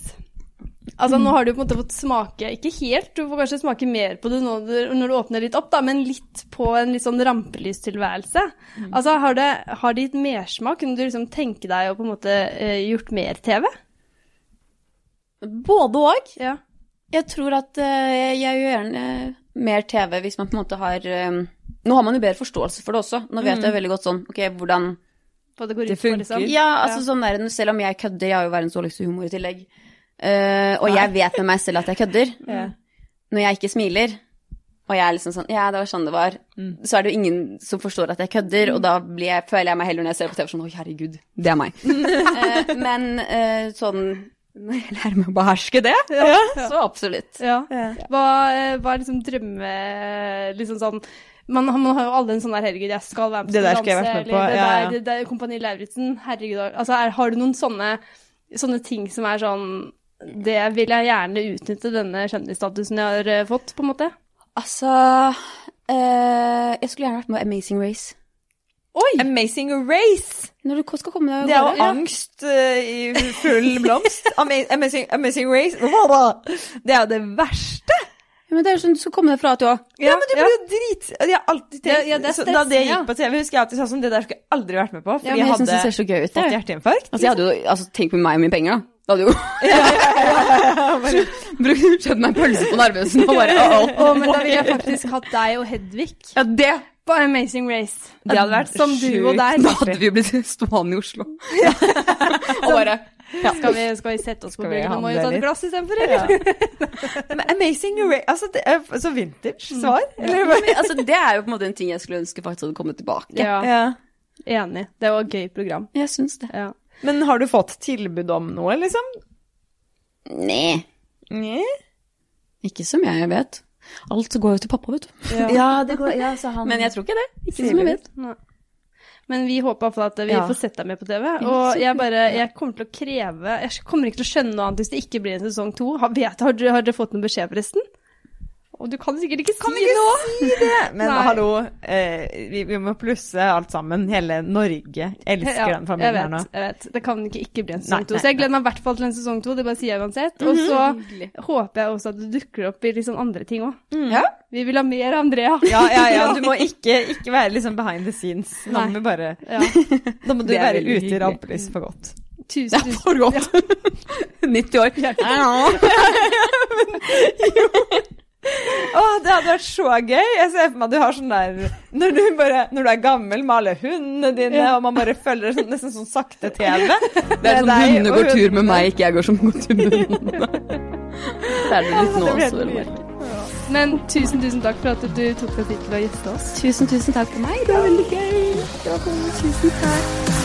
Speaker 2: Altså, Nå har du på en måte fått smake, ikke helt, du får kanskje smake mer på det når du, når du åpner litt opp, da, men litt på en litt sånn rampelystilværelse. Altså, har det, har det gitt mersmak? Kunne du liksom tenke deg å på en måte eh, gjort mer TV?
Speaker 3: Både og.
Speaker 2: Ja.
Speaker 3: Jeg tror at eh, jeg gjør gjerne mer TV hvis man på en måte har eh, Nå har man jo bedre forståelse for det også. Nå vet jeg veldig godt sånn Ok, hvordan
Speaker 2: Hva det går
Speaker 1: Det
Speaker 2: ut på,
Speaker 1: funker.
Speaker 2: liksom?
Speaker 3: Ja, altså sånn der, selv om jeg kødder, jeg har jo verdens dårligste humor i tillegg, eh, og jeg vet med meg selv at jeg kødder,
Speaker 1: Ja.
Speaker 3: når jeg ikke smiler, og jeg er liksom sånn Ja, det var sånn det var. Så er det jo ingen som forstår at jeg kødder, og da blir jeg, føler jeg meg heller når jeg ser på TV sånn Å, herregud, det er meg. Eh, men eh, sånn Når jeg lærer meg å beherske det, så absolutt.
Speaker 2: Ja. Hva, eh, hva er liksom drømme Liksom sånn man, man har jo alle en sånn der 'herregud, jeg skal være med på
Speaker 1: Det der
Speaker 2: Skal
Speaker 1: skal jeg
Speaker 2: danse',
Speaker 1: være med
Speaker 2: eller
Speaker 1: på,
Speaker 2: det,
Speaker 1: ja, ja.
Speaker 2: der, det der Kompani Lauritzen, herregud. Altså, er, har du noen sånne, sånne ting som er sånn Det vil jeg gjerne utnytte denne kjendisstatusen jeg har eh, fått, på en måte.
Speaker 3: Altså eh, Jeg skulle gjerne vært med på Amazing Race.
Speaker 1: Amazing Race!
Speaker 3: Når du skal komme deg
Speaker 1: Det er
Speaker 3: av
Speaker 1: jo
Speaker 3: gårde.
Speaker 1: angst eh, i full blomst. Ama- Amazing, amazing Race. Det er jo det verste.
Speaker 3: Ja, men det er jo sånn du skal komme deg fra at du har
Speaker 1: Ja, men du blir jo drit... Jeg har alltid
Speaker 2: Ja,
Speaker 1: tenkt
Speaker 2: ja, det er
Speaker 1: så Da det
Speaker 2: stressende, ja.
Speaker 1: gikk på TV, husker jeg alltid sånn som det der skulle jeg aldri vært med på, fordi
Speaker 3: Ja, men
Speaker 1: jeg
Speaker 3: jeg syns
Speaker 1: hadde
Speaker 3: det ser så gøy ut.
Speaker 1: fått
Speaker 3: Jeg.
Speaker 1: hjerteinfarkt.
Speaker 3: Altså, jeg hadde jo, altså, tenk på meg og mine penger, da. Det hadde jo Brukt kjøpt meg en pølse på Narvesen og bare uh-oh.
Speaker 2: Å, men da ville jeg faktisk hatt deg og Hedvig
Speaker 3: Ja, det
Speaker 2: på Amazing Race.
Speaker 1: Det hadde vært
Speaker 2: Som duo
Speaker 1: sjukt
Speaker 2: der.
Speaker 3: Da hadde vi jo blitt stående i Oslo. og bare
Speaker 2: Sånn, Skal, vi, skal vi sette oss på
Speaker 1: Skal vi
Speaker 2: bryggen? Nå må vi
Speaker 1: handle
Speaker 2: ta et
Speaker 1: litt?
Speaker 2: glass istedenfor, eller?
Speaker 1: Men Amazing Race Altså, det er så vintage svar. Eller hva?
Speaker 3: Altså, det er jo på en måte en ting jeg skulle ønske faktisk hadde kommet tilbake.
Speaker 2: Ja,
Speaker 1: Ja.
Speaker 2: enig. Det var et gøy program.
Speaker 3: Jeg syns det.
Speaker 2: Ja.
Speaker 1: Men har du fått tilbud om noe, liksom?
Speaker 3: Nei,
Speaker 1: Nei.
Speaker 3: ikke som jeg vet. Alt går jo til pappa, vet du.
Speaker 1: Ja, det går Ja, så han
Speaker 3: Men jeg tror ikke det. Ikke
Speaker 1: Sier
Speaker 3: som
Speaker 1: du
Speaker 3: jeg vet.
Speaker 2: Nei. Men vi håper iallfall at vi
Speaker 1: Ja.
Speaker 2: får sett deg med på TV. Og jeg bare, jeg kommer til å kreve Jeg kommer ikke til å skjønne noe annet hvis det ikke blir en sesong to. Har, vet, har, dere- har dere fått noen beskjed, forresten? Og du kan sikkert ikke si
Speaker 1: ikke
Speaker 2: noe!
Speaker 1: Men
Speaker 2: Nei.
Speaker 1: hallo, eh, vi, vi må plusse alt sammen. Hele Norge elsker
Speaker 2: Ja,
Speaker 1: den familien her
Speaker 2: jeg
Speaker 1: nå.
Speaker 2: vet, jeg vet. Det kan ikke, ikke bli en
Speaker 1: Nei,
Speaker 2: sesong
Speaker 1: nei,
Speaker 2: to.
Speaker 1: Mm-hmm.
Speaker 2: Så jeg gleder meg i hvert fall til en sesong to, det bare sier jeg uansett. Og
Speaker 3: Hyggelig.
Speaker 2: så håper jeg også at det dukker opp i litt sånn andre ting òg.
Speaker 3: Ja.
Speaker 2: Vi vil ha mer Andrea.
Speaker 1: Mm. Ja, ja, ja. Du må ikke, ikke være liksom behind the scenes. Nå
Speaker 2: Nei.
Speaker 1: må, vi bare,
Speaker 2: Ja.
Speaker 1: nå må du
Speaker 3: Det er
Speaker 1: være
Speaker 3: veldig
Speaker 1: ute i
Speaker 3: hyggelig.
Speaker 1: rampelyset for godt.
Speaker 2: Tusen, tusen
Speaker 3: For godt. 90 år.
Speaker 1: Å, det hadde vært så gøy! Jeg ser for meg at du har sånn der Når du, bare, når du er gammel med alle hundene dine, og man bare følger sånn, nesten sånn sakte TV.
Speaker 3: Det er sånn
Speaker 1: deg
Speaker 3: hundene
Speaker 1: og
Speaker 3: går tur med meg, ikke jeg går som går tur med hundene. Det er det litt nå
Speaker 1: Det blir
Speaker 3: også,
Speaker 1: helt
Speaker 3: vil jeg
Speaker 1: nydelig.
Speaker 3: merke.
Speaker 2: Men tusen, tusen takk for at du tok deg tid til å gjeste oss.
Speaker 3: Tusen, tusen takk for meg. Det var veldig gøy. Det var koselig. Tusen takk.